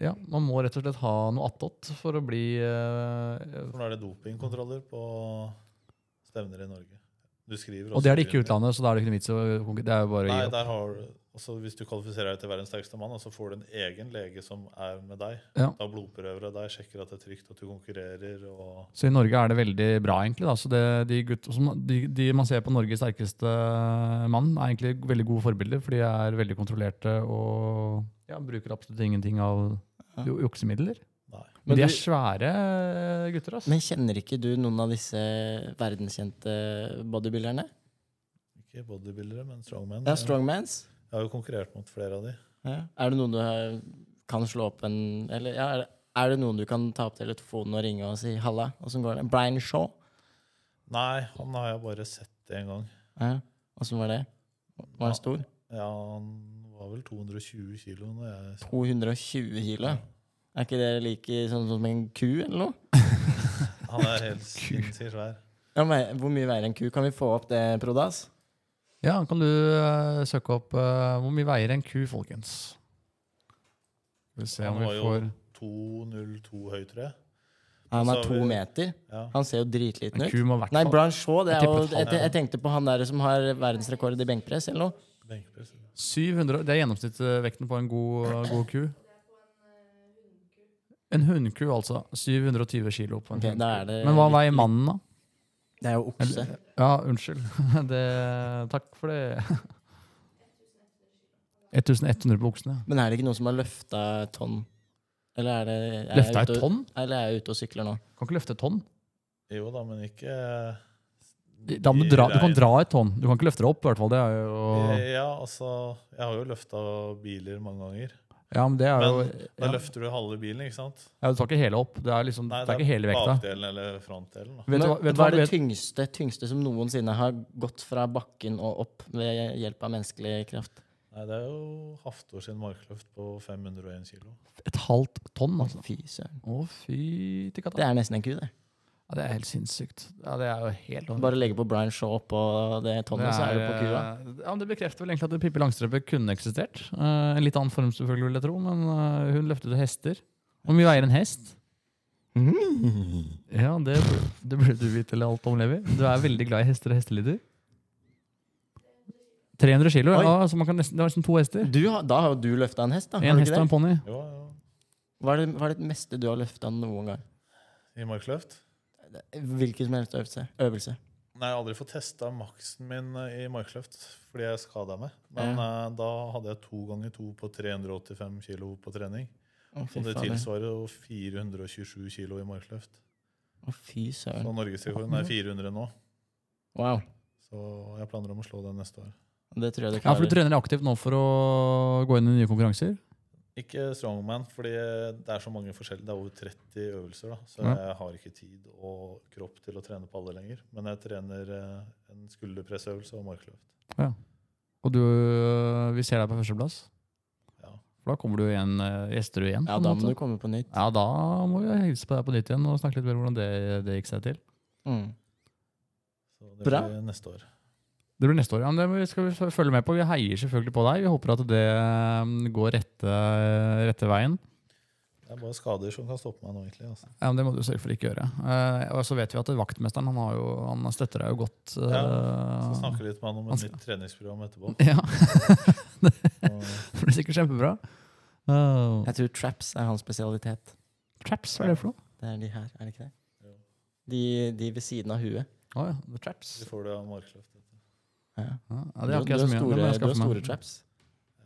Speaker 1: ja. Man må rett og slett ha noe attåt for å bli eh,
Speaker 3: for nå er det dopingkontroller på stevner i Norge. Du skriver
Speaker 1: Og det er det ikke
Speaker 3: også-
Speaker 1: i utlandet, så da er det ikke noe vits å konkurrere. Det er jo bare å gi
Speaker 3: Nei,
Speaker 1: opp.
Speaker 3: der har du altså Hvis du kvalifiserer deg til verdens sterkeste mann, og så får du en egen lege som er med deg,
Speaker 1: Ja.
Speaker 3: tar blodprøver av deg, sjekker at det er trygt, at du konkurrerer og
Speaker 1: Så i Norge er det veldig bra, egentlig. Da. Så det, de, gutt, som, de, de man ser på Norges sterkeste mann, er egentlig veldig gode forbilder, for de er veldig kontrollerte og ja, bruker absolutt ingenting av ju- juksemidler.
Speaker 3: Nei.
Speaker 1: Men de
Speaker 2: Men
Speaker 1: er
Speaker 2: du-
Speaker 1: svære gutter, altså.
Speaker 2: Men kjenner ikke du noen av disse verdenskjente bodybuilderne?
Speaker 3: Ikke bodybuildere, men strongmen.
Speaker 2: Ja, strongmans?
Speaker 3: Jeg har jo konkurrert mot flere av de.
Speaker 2: Ja. Er det noen du har- kan slå opp en Eller ja, er det, er det noen du kan ta opp telefonen og ringe og si 'halla'? Åssen går det? Brian Shaw?
Speaker 3: Nei, han har jeg bare sett én gang.
Speaker 2: Ja. Åssen var det? Var han stor?
Speaker 3: Ja, han var vel 220 kilo når jeg
Speaker 2: 220 kilo? Er ikke det like sånn som en ku, eller noe?
Speaker 3: Han er helt sinnssykt svær.
Speaker 2: Ja, men hvor mye veier en ku? Kan vi få opp det, Prodas?
Speaker 1: Ja, kan du eh, søke opp eh, Hvor mye veier en ku, folkens? Skal vi se
Speaker 3: Han
Speaker 1: om
Speaker 3: var
Speaker 1: vi
Speaker 3: jo-
Speaker 1: får
Speaker 3: 202 høy, tror jeg.
Speaker 2: Han
Speaker 3: Så
Speaker 2: er
Speaker 3: har
Speaker 2: to
Speaker 3: vi-
Speaker 2: meter.
Speaker 3: Ja.
Speaker 2: Han ser jo dritliten
Speaker 1: En
Speaker 2: ut.
Speaker 1: ku må i hvert
Speaker 2: Nei,
Speaker 1: fall
Speaker 2: Brian Shaw. Det er
Speaker 1: Jeg
Speaker 2: jo,
Speaker 1: tippet
Speaker 2: jeg,
Speaker 1: han,
Speaker 2: te- jeg tenkte på han der som har verdensrekord i benkpress, eller noe.
Speaker 3: Benkpress.
Speaker 1: 700, Det er gjennomsnittsvekten på en god, eh, god ku. En hunnku, altså. 720 kilo på en
Speaker 2: Ok, da er
Speaker 1: hunnku.
Speaker 2: det
Speaker 1: Men hva
Speaker 2: litt-
Speaker 1: veier mannen, da?
Speaker 2: Det er jo okse.
Speaker 1: Ja, unnskyld. Det, takk for det. 1100 på oksene.
Speaker 2: Men er det ikke noen som har løfta et tonn? Eller er det er jeg
Speaker 1: Løfta
Speaker 2: ute
Speaker 1: et
Speaker 2: og-
Speaker 1: tonn?
Speaker 2: Eller er jeg ute og sykler nå?
Speaker 1: Kan ikke løfte et tonn.
Speaker 3: Jo da, men ikke
Speaker 1: Da må du, dra, du kan dra et tonn. Du kan ikke løfte det opp, i hvert fall. Det er jo,
Speaker 3: Ja, altså Jeg har jo løfta biler mange ganger.
Speaker 1: ja, men det er jo
Speaker 3: Men da
Speaker 1: ja,
Speaker 3: løfter du halve bilen, ikke sant?
Speaker 1: ja, Du tar ikke hele opp. Det er liksom, det er ikke hele vekta.
Speaker 3: bakdelen eller frontdelen. Da.
Speaker 1: Vet du
Speaker 2: Men
Speaker 1: hva, vet du
Speaker 2: hva
Speaker 1: hva,
Speaker 2: er
Speaker 1: vet,
Speaker 2: det tyngste, tyngste som noensinne har gått fra bakken og opp ved hjelp av menneskelig kraft?
Speaker 3: Nei, det er jo Haftor sin markløft på 501 kilo.
Speaker 1: et halvt tonn, altså.
Speaker 2: Fy søren.
Speaker 1: Å, fy til katta.
Speaker 2: Det er nesten en ku, det.
Speaker 1: Ja, det er helt sinnssykt. Ja, det er jo helt
Speaker 2: Bare legge på Brian Shaw oppå det tonnet, så er du på kua.
Speaker 1: eh, Ja, men det bekrefter vel egentlig at Pippi Langstrømpe kunne eksistert. Eh, en litt annen form, selvfølgelig, vil jeg tro, men eh, hun løftet hester. Hvor mye veier en hest?
Speaker 2: Mm.
Speaker 1: Ja, det, bur- det burde du vite eller alt om, Levi. Du er veldig glad i hester og hestelyder. 300 kilo,
Speaker 2: Oi.
Speaker 1: ja. Så man kan nesten, det er nesten to hester.
Speaker 2: Du har, da har jo du løfta en hest, da. Har
Speaker 1: En
Speaker 2: du
Speaker 1: hest og
Speaker 2: ikke
Speaker 1: en
Speaker 2: det?
Speaker 1: ponni.
Speaker 3: Jo, jo.
Speaker 2: Hva er det, hva er det meste du har løfta noen gang?
Speaker 3: I markløft.
Speaker 2: Hvilken som helst øvelse. øvelse.
Speaker 3: Nei, jeg har aldri fått testa maksen min eh, i markløft fordi jeg skada meg. Men eh, da hadde jeg to ganger to på 385 kilo på trening.
Speaker 2: Å, fy
Speaker 3: Og det
Speaker 2: fader.
Speaker 3: tilsvarer jo 427 kilo i markløft.
Speaker 2: Å, fy
Speaker 3: Så
Speaker 2: søren.
Speaker 3: norgesrekorden er 400 nå.
Speaker 2: Wow.
Speaker 3: Så jeg planer om å slå den neste år.
Speaker 2: Det tror jeg du
Speaker 1: Ja, for du
Speaker 2: klarer.
Speaker 1: trener aktivt nå for å gå inn i nye konkurranser?
Speaker 3: Ikke strongman, fordi det er så mange forskjellige. Det er over 30 øvelser, da, så
Speaker 1: Ja.
Speaker 3: jeg har ikke tid og kropp til å trene på alle lenger. Men jeg trener eh, en skulderpressøvelse og markløft.
Speaker 1: Og du, eh, vi ser deg på førsteplass?
Speaker 3: Ja.
Speaker 1: For da kommer du igjen, eh, gjester du igjen? på
Speaker 2: Ja,
Speaker 1: en
Speaker 2: da
Speaker 1: måte.
Speaker 2: må du komme på nytt.
Speaker 1: Ja, da må vi hilse på deg på nytt igjen og snakke litt mer om hvordan det, det gikk seg til.
Speaker 2: Mm.
Speaker 3: Så det
Speaker 2: Bra.
Speaker 3: blir neste år.
Speaker 1: Det blir neste år, ja, men det må vi- skal vi følge med på. Vi heier selvfølgelig på deg. Vi håper at det mm, går um, rette, rette veien.
Speaker 3: Ja, Det er bare skader som kan stoppe meg nå, egentlig. Altså.
Speaker 1: Ja, men Det må du sørge for ikke gjøre. Eh, og så vet vi at vaktmesteren han, har jo, han støtter deg jo godt. eh,
Speaker 3: Så snakke litt med han om
Speaker 1: Han
Speaker 3: et
Speaker 1: skal-
Speaker 3: nytt treningsprogram etterpå.
Speaker 1: ja,
Speaker 3: Og
Speaker 1: Det blir sikkert kjempebra. Eh,
Speaker 2: Jeg tror traps er hans spesialitet.
Speaker 1: traps, hva er det for noe?
Speaker 2: Det er de her, er det ikke det?
Speaker 3: Jo.
Speaker 2: De, de ved siden av huet.
Speaker 1: Å ja, the traps.
Speaker 3: så får du av Markløft.
Speaker 1: Ja,
Speaker 2: Ja.
Speaker 1: det har
Speaker 2: Du-
Speaker 1: ikke jeg
Speaker 2: du
Speaker 1: så mye av, det må jeg
Speaker 2: store, du har
Speaker 1: skaffe meg.
Speaker 2: store traps.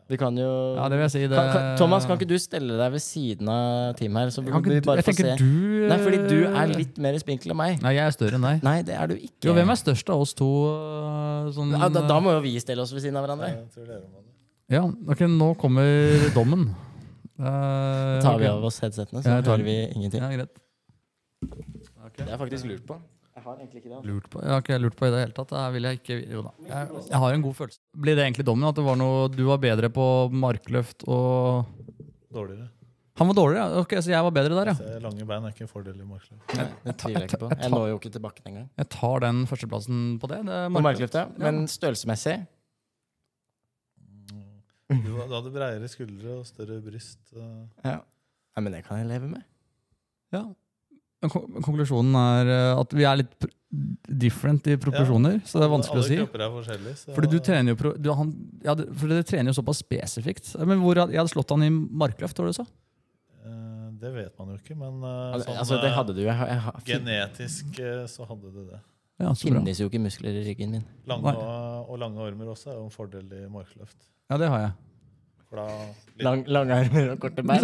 Speaker 2: Vi kan jo
Speaker 1: Ja, det vil jeg si. Det,
Speaker 2: kan, kan, Thomas, kan ikke du stelle deg ved siden av teamet her? Så
Speaker 1: Kan ikke
Speaker 2: vi
Speaker 1: du-
Speaker 2: bare
Speaker 1: Jeg
Speaker 2: får
Speaker 1: tenker
Speaker 2: se.
Speaker 1: du
Speaker 2: Nei, fordi du er litt mer spinkel enn meg.
Speaker 1: Nei, jeg er større enn deg.
Speaker 2: Nei, det er du ikke.
Speaker 1: Jo, hvem er størst av oss to? øh, Sånn,
Speaker 2: ja, da, da må jo vi stelle oss ved siden av hverandre.
Speaker 3: Jeg tror dere må det.
Speaker 1: eh, Ja, ok, nå kommer dommen. Uh,
Speaker 2: Da tar vi av oss headsetene, så
Speaker 1: Ja, jeg tar
Speaker 2: hører vi ingenting.
Speaker 1: Ja, greit.
Speaker 2: Det er faktisk lurt på. Jeg har egentlig ikke det.
Speaker 1: Lurt på. Jeg har ikke lurt på i det hele tatt. Jeg, vil jeg, ikke, jo da. Jeg, jeg har en god følelse. Blir det egentlig dommen? At det var noe, du var bedre på markløft og
Speaker 3: Dårligere.
Speaker 1: Han var dårligere, ja. Ok, så jeg var bedre der, ja.
Speaker 3: Så Lange bein er ikke en fordel i markløft.
Speaker 2: Nei, det tviler jeg ikke på. Jeg når jo ikke til bakken engang.
Speaker 1: Jeg tar den førsteplassen på det. det er
Speaker 2: På
Speaker 1: markløft.
Speaker 2: markløftet. Men størrelsesmessig
Speaker 3: Du du hadde breiere skuldre og større bryst. eh,
Speaker 2: ja. Nei, men det kan jeg leve med.
Speaker 1: Ja. Men kon- Konklusjonen er øh, at vi er litt pr- different i proporsjoner, så det er vanskelig å si.
Speaker 3: Alle kropper er forskjellige. Så
Speaker 1: Fordi du trener jo, pro- du, han, ja, du- fordi dere trener jo såpass spesifikt. Men hvor had- Jeg hadde slått han i markløft, var det du sa?
Speaker 3: eh, det vet man jo ikke, men eh,
Speaker 2: Al-
Speaker 3: sånn,
Speaker 2: Altså, det
Speaker 3: eh,
Speaker 2: hadde du. Jeg, har- jeg har- fin-
Speaker 3: genetisk eh, så hadde du det.
Speaker 1: Ja, så bra.
Speaker 2: finnes jo ikke muskler i ryggen min.
Speaker 3: Lange,
Speaker 1: Nei.
Speaker 3: og lange armer også er jo en fordel i markløft.
Speaker 1: Ja, det har jeg.
Speaker 3: For da,
Speaker 2: Lang, lange armer og korte bein.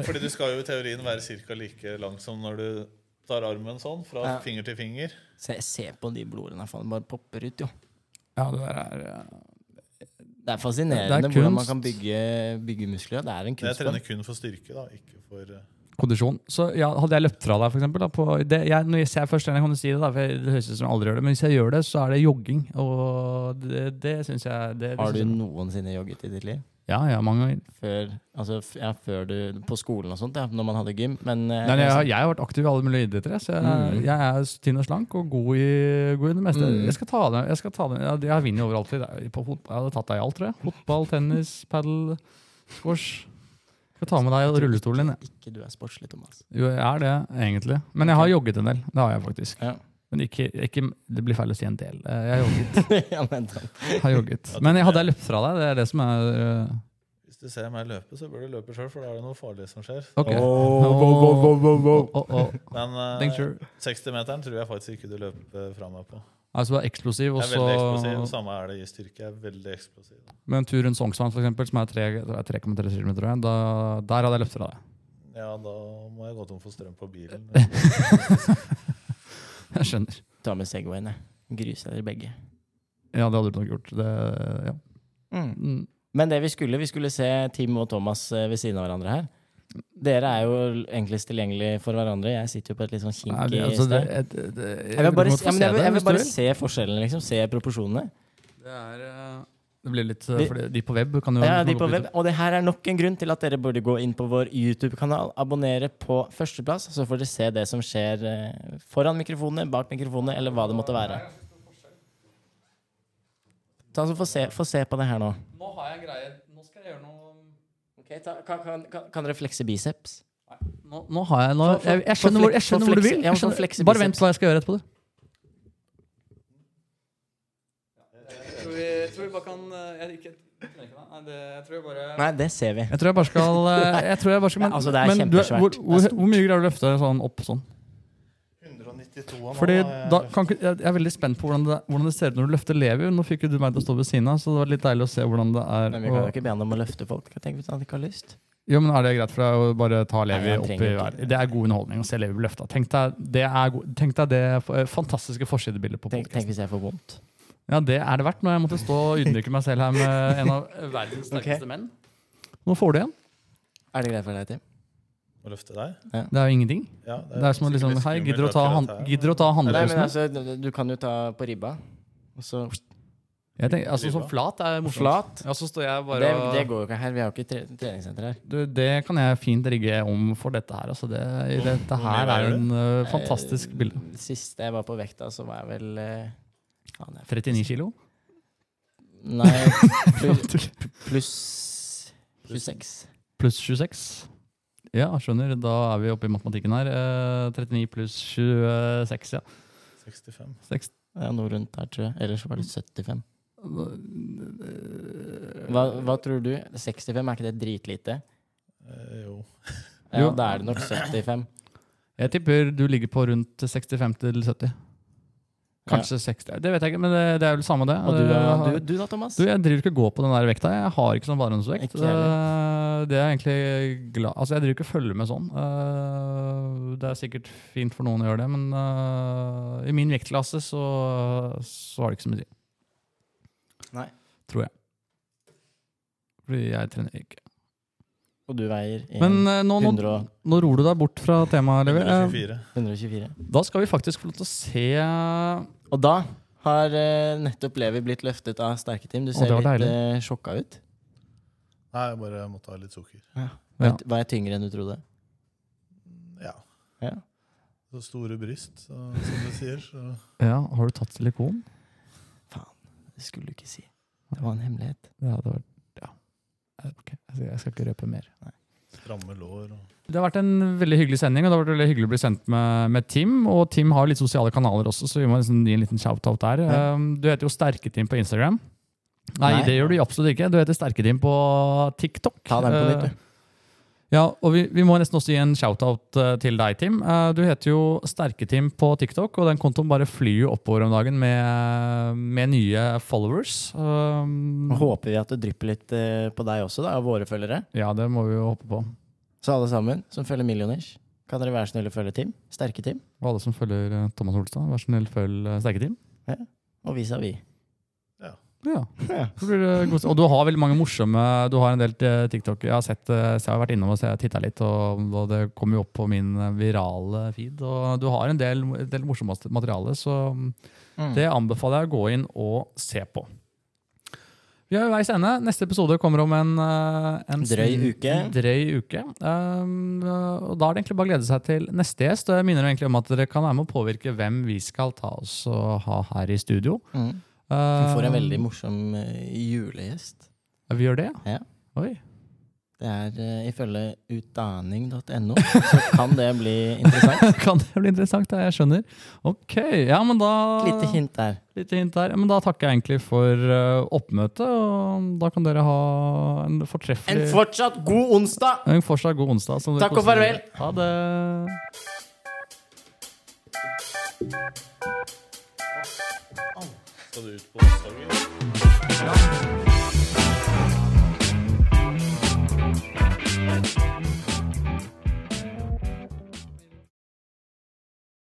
Speaker 3: Fordi du skal jo i teorien være cirka like lang som når du tar armen sånn, fra
Speaker 2: Ja.
Speaker 3: finger til finger.
Speaker 2: Se, se på de blodårene. faen, Bare popper ut, jo.
Speaker 1: Ja, det der er eh,
Speaker 2: Det er fascinerende
Speaker 1: Det er
Speaker 2: hvordan man
Speaker 1: kunst.
Speaker 2: kan bygge, bygge muskler. Det er en
Speaker 3: Men jeg
Speaker 2: kunst.
Speaker 3: trener kun for styrke, da, ikke for eh,
Speaker 1: kondisjon. Så ja, hadde jeg løpt fra deg, for eksempel, da, på, det, jeg, når jeg først jeg kan jo si det, da, for jeg- det høres ut som jeg aldri gjør det, men hvis jeg gjør det, så er det jogging. Og det, det syns jeg det, det
Speaker 2: Har du
Speaker 1: synes jeg-
Speaker 2: noensinne jogget i ditt liv?
Speaker 1: Ja, ja, mange ganger.
Speaker 2: Før, altså, f- ja, før du På skolen og sånt, ja, når man hadde gym. Men eh,
Speaker 1: Nei, jeg, har- jeg har vært aktiv i alle mulige idretter. jeg, Så jeg,
Speaker 2: Mm.
Speaker 1: jeg er tynn og slank og god i, god i det meste.
Speaker 2: Mm.
Speaker 1: Jeg skal ta det. Jeg, skal ta det. Jeg, jeg vinner jo overalt. i det. På fot- Jeg hadde tatt deg i alt, tror jeg. Fotball, tennis, padel, squash. Skal ta med deg og rullestolen din. jeg.
Speaker 2: ikke du er sportslig, Thomas.
Speaker 1: Jo, jeg er det, egentlig. Men jeg har jogget en del. Det har jeg faktisk.
Speaker 2: Ja.
Speaker 1: Men ikke, ikke, det blir feil å si en del. Eh, Jeg har jogget.
Speaker 2: ja, men da-
Speaker 1: Har jogget. Men jeg hadde jeg løpt fra deg. Det er det som er eh,
Speaker 3: Hvis du ser meg løpe, så bør du løpe sjøl, for da er det noe farlig som skjer.
Speaker 1: Ok. Å, å, å.
Speaker 3: Men eh,
Speaker 1: Thanks, sure.
Speaker 3: 60-meteren tror jeg faktisk ikke du løper fra meg på.
Speaker 1: Altså, du er eksplosiv, og
Speaker 3: Jeg er veldig eksplosiv, og
Speaker 1: så
Speaker 3: samme er det i styrke. Jeg er veldig eksplosiv.
Speaker 1: Med en tur rundt Sognsvann, for eksempel, som er tre- det er 3,3 km, tror jeg, da, der hadde jeg løpt fra deg.
Speaker 3: Ja, da må jeg gå tom for strøm på bilen.
Speaker 1: Jeg skjønner.
Speaker 2: Ta med Segwayen, jeg. Gruser dere begge.
Speaker 1: Ja, det hadde du nok gjort. Det, ja.
Speaker 2: Mm.
Speaker 1: Mm.
Speaker 2: Men det vi skulle, vi skulle se Tim og Thomas eh, ved siden av hverandre her. Dere er jo enklest tilgjengelig for hverandre. Jeg sitter jo på et litt sånn
Speaker 1: Nei,
Speaker 2: kinkig
Speaker 1: det, altså, det,
Speaker 2: sted.
Speaker 1: det, det,
Speaker 2: Jeg vil bare,
Speaker 1: du må
Speaker 2: se-
Speaker 1: få
Speaker 2: ja, men
Speaker 1: se
Speaker 2: jeg vil, jeg
Speaker 1: det,
Speaker 2: vil
Speaker 1: hvis du
Speaker 2: bare
Speaker 1: vil.
Speaker 2: se forskjellene, liksom. Se proporsjonene.
Speaker 1: Det er, eh, det blir litt eh,
Speaker 2: Vi-
Speaker 1: fordi De på web kan jo
Speaker 2: Ja,
Speaker 1: kan
Speaker 2: de
Speaker 1: gå
Speaker 2: på
Speaker 1: litt-
Speaker 2: web. Og det her er nok en grunn til at dere burde gå inn på vår YouTube-kanal, abonnere på førsteplass, så får dere se det som skjer eh, foran mikrofonene, bak mikrofonene, eller hva det måtte være. Ta så Få se, få se på det her nå.
Speaker 1: Nå har jeg en greie. Nå skal jeg gjøre noe
Speaker 2: kan, dere flekse biceps?
Speaker 1: Nå, nå har jeg nå,
Speaker 2: Få- få-
Speaker 1: jeg, jeg
Speaker 2: få
Speaker 1: skjønner hvor, jeg
Speaker 2: flekse- få
Speaker 1: skjønner hvor du
Speaker 2: flekse-
Speaker 1: vil.
Speaker 2: ja,
Speaker 1: Jeg
Speaker 2: få
Speaker 1: skjønner,
Speaker 2: flekse
Speaker 1: bare
Speaker 2: biceps.
Speaker 1: vent hva jeg skal gjøre etterpå. du.
Speaker 2: Nei, det ser vi.
Speaker 1: Jeg tror jeg bare skal eh, Jeg tror jeg bare skal Men,
Speaker 2: Altså, det er
Speaker 1: men du,
Speaker 2: kjempesvært.
Speaker 1: hvor,
Speaker 2: Det er
Speaker 1: hvor,
Speaker 2: stort.
Speaker 1: hvor mye greier du å løfte sånn opp sånn?
Speaker 3: 192 nå, eh,
Speaker 1: Fordi
Speaker 3: jeg
Speaker 1: da
Speaker 3: løfter.
Speaker 1: kan, ikke- jeg jeg er veldig spent på hvordan det, hvordan det ser ut når du løfter Levi. Nå fikk jo du meg til å stå ved siden av, så det var litt deilig å se hvordan det er.
Speaker 2: Men vi kan jo
Speaker 1: å-
Speaker 2: ikke be han om å løfte folk. Jeg tenker hvis han ikke har lyst.
Speaker 1: jo, men Er det greit for deg å bare ta
Speaker 2: Nei,
Speaker 1: Levi
Speaker 2: han
Speaker 1: opp i
Speaker 2: trenger ikke.
Speaker 1: været? Det er god underholdning å se Levi bli løfta. Tenk deg det, er go tenk deg det f- eh, fantastiske forsidebildet på
Speaker 2: Tenk, tenk
Speaker 1: podkasten.
Speaker 2: hvis jeg får vondt.
Speaker 1: Ja, det er det verdt når jeg måtte stå og ydmyke meg selv her med en av verdens sterkeste menn. Nå får du igjen.
Speaker 2: Er det greit for deg, Tim?
Speaker 3: Å løfte deg?
Speaker 1: Det er jo ingenting.
Speaker 3: Ja,
Speaker 1: Det er som å liksom
Speaker 3: sikkert litt
Speaker 1: Hei,
Speaker 3: skummelt
Speaker 1: gidder du å ta,
Speaker 3: akkurat
Speaker 1: han,
Speaker 3: her, men-
Speaker 1: gidder du å ta
Speaker 2: Nei, men
Speaker 1: håndløsene?
Speaker 2: altså, du- du kan jo ta på ribba, og så
Speaker 1: Jeg tenker, altså, sånn flat er morsomt.
Speaker 2: Flat?
Speaker 1: Ja, så står jeg bare
Speaker 2: Det,
Speaker 1: og-
Speaker 2: det går jo ikke her. Vi har jo ikke tre treningssenter her.
Speaker 1: Du, det kan jeg fint rigge om for dette her. Altså det, dette her er en ø, Eh, fantastisk bilde.
Speaker 2: Eh, Sist jeg var på vekta, så var jeg vel eh, faen, jeg-
Speaker 1: 39 kilo?
Speaker 2: Nei, pl- pluss 26.
Speaker 1: Pluss 26. Ja, skjønner. Da er vi oppe i matematikken her. Eh, 39 pluss 26, ja.
Speaker 3: 65.
Speaker 1: Seks-
Speaker 2: Det er noe rundt der, tror jeg. Ellers var det 75. Hva, hva tror du? 65, er ikke det dritlite?
Speaker 3: Eh, jo.
Speaker 2: Ja,
Speaker 1: Jo.
Speaker 2: da er det nok 75.
Speaker 1: Jeg tipper du ligger på rundt 65 til 70. Kanskje 60. Det vet jeg ikke, men det, det er vel samme det.
Speaker 2: Og du, da-
Speaker 1: Eh,
Speaker 2: du, du da, Thomas?
Speaker 1: Du, jeg driver ikke og går på den der vekta. Jeg har ikke sånn varehåndsvekt.
Speaker 2: Ikke jeg
Speaker 1: Eh, Det er jeg egentlig glad Altså, jeg driver ikke og følger med sånn. Eh, Det er sikkert fint for noen å gjøre det, men eh, i min vektklasse så, så har det ikke så mye å si.
Speaker 2: Nei.
Speaker 1: Tror jeg. Fordi jeg trener ikke.
Speaker 2: Og du veier en
Speaker 1: Men eh, nå, nå,
Speaker 2: 100 og-
Speaker 1: nå ror du deg bort fra temaet, Levi. Eh,
Speaker 3: 124.
Speaker 2: 124.
Speaker 1: Da skal vi faktisk få lov til å se
Speaker 2: Og da har eh, nettopp Levi blitt løftet av sterke team. Du ser
Speaker 1: det
Speaker 2: litt
Speaker 1: var
Speaker 2: eh, sjokka ut.
Speaker 3: Nei, jeg bare måtte ha litt sukker.
Speaker 1: Ja.
Speaker 2: Var- Var jeg tyngre enn du trodde?
Speaker 3: Ja.
Speaker 2: Ja.
Speaker 3: Så store bryst, så, som du sier. Så.
Speaker 1: Ja, har du tatt silikon?
Speaker 2: Det skulle du ikke si. Det var en hemmelighet.
Speaker 1: Ja, det var Ja. Eh, Ok, Jeg skal- jeg skal ikke røpe mer.
Speaker 3: Stramme lår og
Speaker 1: Det har vært en veldig hyggelig sending, og det har vært veldig hyggelig å bli sendt med, med Tim. Og Tim har litt sosiale kanaler også, så vi må liksom gi en liten shout-out der.
Speaker 2: Ja.
Speaker 1: Um, Du heter jo Sterke-Tim på Instagram. Nei,
Speaker 2: Nei.
Speaker 1: det gjør du absolutt ikke. Du heter Sterke-Tim på TikTok.
Speaker 2: Ta den på nytt,
Speaker 1: Eh,
Speaker 2: du.
Speaker 1: Ja, og vi, vi må nesten også gi en shout-out eh, til deg, Tim. Eh, Du heter jo Sterke-Tim på TikTok, og den kontoen bare flyr jo oppover om dagen med, med nye followers. Um,
Speaker 2: Og Eh, Håper vi at det drypper litt eh, på deg også, da, av våre følgere.
Speaker 1: Ja, det må vi jo håpe på.
Speaker 2: Så alle sammen som følger Millioners, kan dere være snille og følge Team? Sterke Team,
Speaker 1: Og alle som følger eh, Thomas Olstad, vær så snill, følg eh, Sterke-Tim.
Speaker 2: og vis-à-vis.
Speaker 1: Ja.
Speaker 2: Ja.
Speaker 1: Så blir det god stemning. Og du har veldig mange morsomme Du har en del eh, TikTok. Jeg har, sett, eh, så jeg har vært innom og se- tittet litt, og, og det kom jo opp på min eh, virale feed. Og du har en del, en del morsomt materiale, så mm, det anbefaler jeg å gå inn og se på. Vi er ved veis ende. Neste episode kommer om en, eh, en
Speaker 2: Drøy
Speaker 1: sn-
Speaker 2: uke.
Speaker 1: en drøy uke. Um, og da er det egentlig bare å glede seg til neste gjest. Og jeg minner egentlig om at dere kan være med å påvirke hvem vi skal ta oss og ha her i studio.
Speaker 2: Mm. Vi
Speaker 1: Uh,
Speaker 2: får en veldig morsom eh, julegjest.
Speaker 1: Vi gjør det,
Speaker 2: Ja.
Speaker 1: Oi.
Speaker 2: Det er eh, ifølge utdanning.no, så kan det bli interessant.
Speaker 1: kan det bli interessant, ja, jeg skjønner. Ok, ja, men da
Speaker 2: Et lite hint der.
Speaker 1: Lite hint der. Ja, men da takker jeg egentlig for eh, oppmøtet, og da kan dere ha en
Speaker 2: En
Speaker 1: fortreffelig
Speaker 2: fortsatt god onsdag!
Speaker 1: en fortsatt god onsdag. som dere
Speaker 2: Takk og
Speaker 1: koser dere
Speaker 2: farvel.
Speaker 1: med. Ha det.
Speaker 3: Skal du ut på onsdagen?